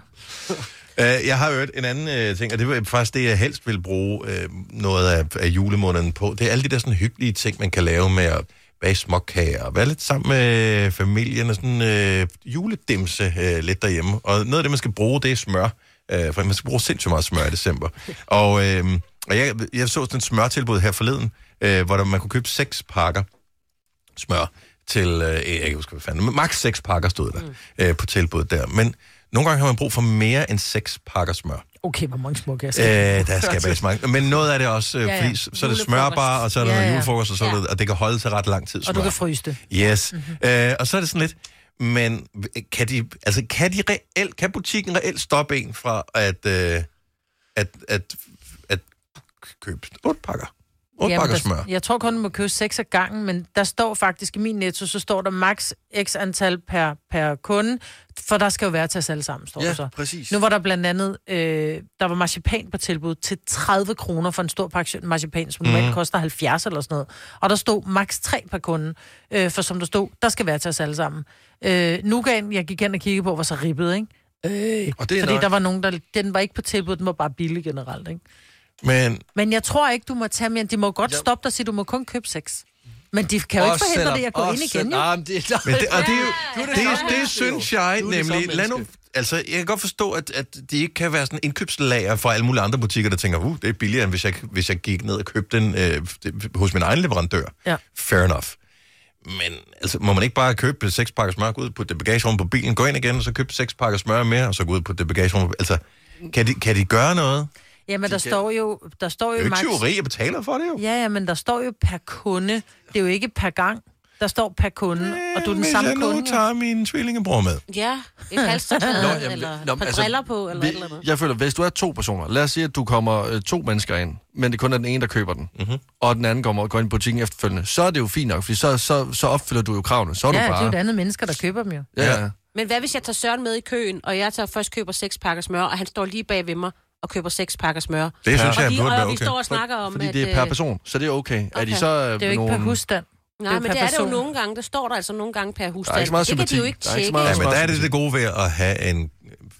A: Øh, Jeg har hørt en anden øh, ting, og det er faktisk det, jeg helst vil bruge øh, noget af, af julemåneden på. Det er alle de der sådan hyggelige ting, man kan lave med at bage småkager, og være lidt sammen med familien og sådan øh, juledimse øh, lidt derhjemme. Og noget af det, man skal bruge, det er smør. Øh, for man skal bruge sindssygt meget smør i december. Og, øh, og jeg, jeg så sådan et smørtilbud her forleden, øh, hvor der, man kunne købe seks pakker smør til, øh, jeg kan ikke huske, hvad fanden, men maks 6 pakker stod der mm. øh, på tilbuddet der. Men nogle gange har man brug for mere end 6 pakker smør.
C: Okay, hvor mange smukke jeg
A: Øh, der skal bages mange. Men noget af det også, øh,
C: Ja,
A: ja,
C: ja.
A: ja. fordi så så er det
C: Julefrokost.
A: smørbar, og så er der
C: Ja,
A: ja,
C: ja.
A: ja. julefrokost, og, så
C: Ja.
A: ja. det, og det kan holde sig ret lang tid. Smør.
C: Og du kan fryse Mhm. det.
A: Yes. Mm-hmm. Øh, og så er det sådan lidt, men kan de, altså, kan de reelt, kan butikken reelt stoppe en fra at, øh, at, at, at købe otte pakker? Otte
C: Jamen,
A: pakker
C: der,
A: smør.
C: Jeg tror kun, man må købe seks af gangen, men der står faktisk i min netto, så står der maks x antal per, per kunde, for der skal jo være til os alle sammen, står
B: Ja,
C: der så.
B: præcis.
C: Nu var der blandt andet, øh, der var marcipan på tilbud til 30 kroner for en stor pakke marcipan, som normalt
F: Mhm.
C: koster 70 eller sådan noget. Og der stod maks 3 per kunde, øh, for som der stod, der skal være til os alle sammen. Øh, Nugan, jeg gik hen og kiggede på, var så ribbet, ikke? Øh,
B: Og det er
C: fordi
B: nok.
C: der var nogen, der, den var ikke på tilbud, den var bare billig generelt, ikke?
A: Men
C: Men jeg tror ikke, du må tage mere. De må godt stoppe dig og sige, du må kun købe seks. Men de kan jo ikke
B: Også
C: forhindre
B: selvom-
C: det at gå
B: også
C: ind igen,
B: selvom-
C: jo.
B: Nej, men det, nej.
A: ah, Men det, og det, er jo,
B: Du er det
A: det,
B: samme
A: det, det
B: menneske, jo.
A: synes jeg
B: Du er det
A: nemlig,
B: samme
A: lad nu,
B: menneske.
A: altså jeg kan godt forstå, at, at de ikke kan være sådan indkøbslager for alle mulige andre butikker, der tænker, uh, det er billigere, end hvis jeg, hvis jeg gik ned og købte den øh, det- hos min egen leverandør.
C: Ja.
A: Fair enough. Men altså, må man ikke bare købe seks pakker smør, gå ud på det bagagerum på bilen, gå ind igen, og så købe seks pakker smør mere, og så gå ud på det bagagerum på Altså, kan de, kan de gøre noget?
C: Jamen, der
A: De kan-
C: står jo... Der står
A: Det er jo
C: jo
A: ikke
C: max-
A: tyveri, jeg betaler for det jo.
C: Ja, ja, men der står jo per kunde. Det er jo ikke per gang. Der står per kunde, og du er den
A: Hvis
C: samme
A: jeg nu
C: kunde.
A: tager min tvillingebror med.
D: Ja, et halstørklæde,
B: Nå, jamen,
D: eller
B: nå,
D: nå,
B: men
D: altså,
B: altså,
D: briller på, eller vi,
B: Vi-
D: et eller andet.
B: Jeg føler, hvis du er to personer, lad os sige, at du kommer øh, to mennesker ind, men det kun er den ene, der køber den, mm-hmm. og den anden kommer og går ind i butikken efterfølgende, så er det jo fint nok, fordi så, så, så opfylder du jo kravene. Så er
C: ja,
B: du
C: det er
B: bare...
C: jo et andet mennesker, der køber dem jo.
B: Ja, ja.
D: Men hvad hvis jeg tager Søren med i køen, og jeg tager først køber seks pakker smør, og han står lige bag ved mig og køber seks pakker smør?
B: synes jeg,
D: og
B: han
D: vi,
B: burde
D: og
B: være
D: vi
B: okay.
D: står og snakker om,
B: Fordi
D: at...
B: det er per
D: øh,
B: person, så det er okay. okay. Er de
D: okay.
B: så øh,
D: Det er jo ikke per
B: nogen...
C: husstand.
D: Nej,
C: Det er
D: men
C: per
D: det er det jo
C: person.
D: nogle gange. Der står der altså nogle gange per husstand.
A: Der er ikke så meget
D: det kan de jo
A: sympati.
D: ikke
A: Der er ikke så
D: tjekke.
A: meget, ja,
D: jo.
A: men der er det det gode ved at have en,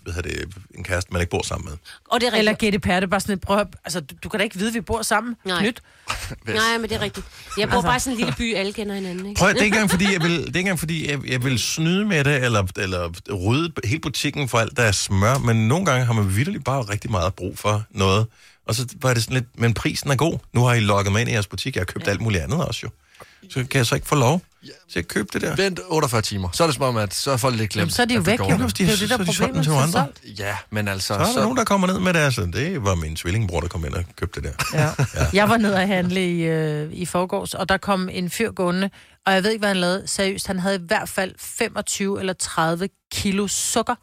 A: hvad hedder det, en kæreste, man ikke bor sammen med.
D: Og det er rigtigt.
C: Eller gætte per, det er bare sådan et prøv at, Altså, du, du kan da ikke vide, at vi bor sammen.
D: Nej.
C: Nyt.
D: Nej, men det er rigtigt. Jeg bor
C: Altså.
D: bare i sådan en lille by, alle kender hinanden, ikke?
A: Prøv, at- det er ikke engang fordi, jeg vil, det er ikke engang, fordi jeg, jeg vil snyde med det, eller, eller rydde hele butikken for alt, der er smør, men nogle gange har man vitterligt bare rigtig meget brug for noget. Og så var det sådan lidt, men prisen er god. Nu har I logget mig ind i jeres butik, jeg har købt ja. alt muligt andet også jo. Så kan jeg så ikke få lov. til at købe det der.
B: Vent 48 timer. Så er det som om, at så er folk lidt glemt.
A: Jamen, så er de jo
B: at vi
A: væk,
B: går
A: jo.
B: der.
A: Jamen, det er jo Det er jo det, der så er de solgt den problemet, til nogle så er andre.
B: Ja, men altså...
A: Så er der nogen, der kommer ned med det. Altså, det var min tvillingbror, der kom ind og købte det der.
C: Ja. Jeg var nede og handle i, øh, i forgårs, og der kom en fyr gående, og jeg ved ikke, hvad han lavede. Seriøst, han havde i hvert fald 25 eller 30 kilo sukker.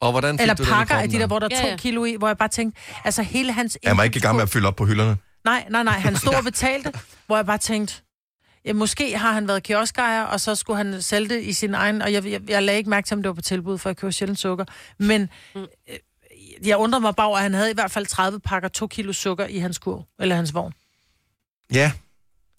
B: Og hvordan fik
C: Eller
B: du den i
C: pakker af
B: kroppen,
C: de der,
B: da?
C: hvor der er
D: Ja,
C: to
D: ja.
C: kilo i, hvor jeg bare tænkte, altså hele hans...
A: Jeg var ikke i gang med at fylde op på hylderne.
C: Nej, nej, nej, han stod og betalte, hvor jeg bare tænkte, ja, måske har han været kioskejer, og så skulle han sælge det i sin egen, og jeg, jeg, jeg lagde ikke mærke til, om det var på tilbud, for jeg køber sjældent sukker. Men
D: Mm.
C: øh, jeg undrede mig bare over, at han havde i hvert fald 30 pakker 2 kilo sukker i hans kurv, eller hans vogn.
A: Ja.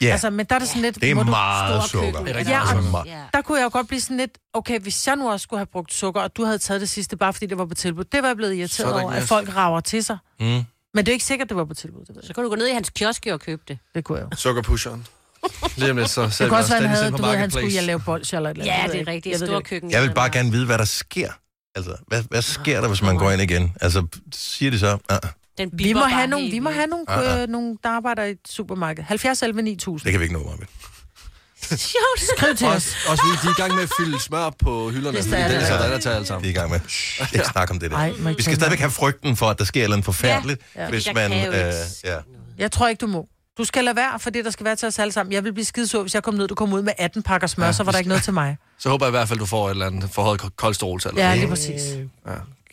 A: Ja.
C: Altså, men der er det sådan lidt...
A: Det er
C: må du
A: meget
C: stå og købe
A: sukker.
C: ud.
A: Det er rigtig
C: Ja,
A: meget
C: og
A: sukker.
C: der kunne jeg jo godt blive sådan lidt... Okay, hvis jeg nu også skulle have brugt sukker, og du havde taget det sidste, bare fordi det var på tilbud, det var jeg blevet irriteret
D: Så er der
C: over,
D: ikke
C: at
D: mere-
C: folk rager til sig.
A: Mm.
C: Men det er jo ikke sikkert, det var på tilbud. Det ved jeg.
D: Så kan du gå ned i hans kiosk og købe det.
C: Det kunne jeg
B: Sukkerpusheren. Lige om lidt, så
C: Det
B: sælger
C: kunne
B: vi
C: også være,
B: os
C: han
B: Dennis
C: havde,
B: ind på
C: du ved, han skulle
B: Marketplace.
C: jeg lave bolsjer eller et eller
D: Ja,
C: andet. Jeg ved
D: det er
C: ikke.
D: rigtigt.
C: Jeg ved det
D: Store
C: ikke.
D: køkken.
A: Jeg vil bare gerne vide, hvad der sker. Altså, hvad, hvad sker der, hvis man går ind igen? Altså, siger de så, ah,
D: Den
C: Vi
D: bipper
C: må
D: bare
C: have nogle,
D: helt
C: vi må
D: vildt.
C: have nogle,
A: Ah, ah.
C: øh, nogle der arbejder i et supermarked. 70 11 9000.
A: det kan vi ikke nå meget med.
C: Skriv til os.
B: Også, også fordi de er i gang med at fylde smør op på hylderne,
C: Det er
B: fordi
C: der,
B: det er
C: der.
B: sådan, der tager alt sammen.
A: Det er i gang med. Shh, Ikke snakke om det der.
C: Ej, må ikke
A: vi skal
C: tænke
A: stadigvæk have frygten for, at der sker et eller andet forfærdeligt,
C: Ja, ja.
A: hvis
C: Jeg
A: man...
C: kan jo ikke
A: Øh, ja.
C: Jeg tror ikke, du må. Du skal lade være, for det der skal være til os alle sammen. Jeg vil blive skidesur, hvis jeg kom ned, du kom ud med 18 pakker smør,
B: Ja,
C: så var der ikke noget til mig.
B: Så håber jeg i hvert fald, du får et eller andet forhøjet ko- kolesterol til.
C: Ja, lige præcis.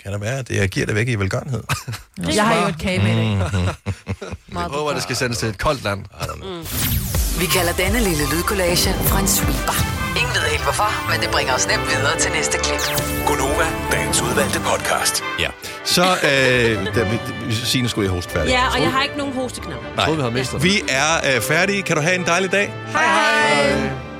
A: Kan det være, at jeg giver det væk i velgørenhed?
C: Jeg har jo et kage med
A: Mm.
C: i dag.
B: Jeg håber, det skal sendes til et koldt land.
E: Vi kalder denne lille lydkollage en sweeper. Ingen ved helt hvorfor, men det bringer os nemt videre til næste klip.
L: Gunova, dagens udvalgte podcast.
A: Ja. Så, øh, der, Signe skulle jeg hoste færdig.
D: Ja, og jeg har ikke nogen hosteknapper.
A: Nej.
B: vi havde mistet
A: Vi er øh, færdige. Kan du have en dejlig dag?
D: Hej. hej.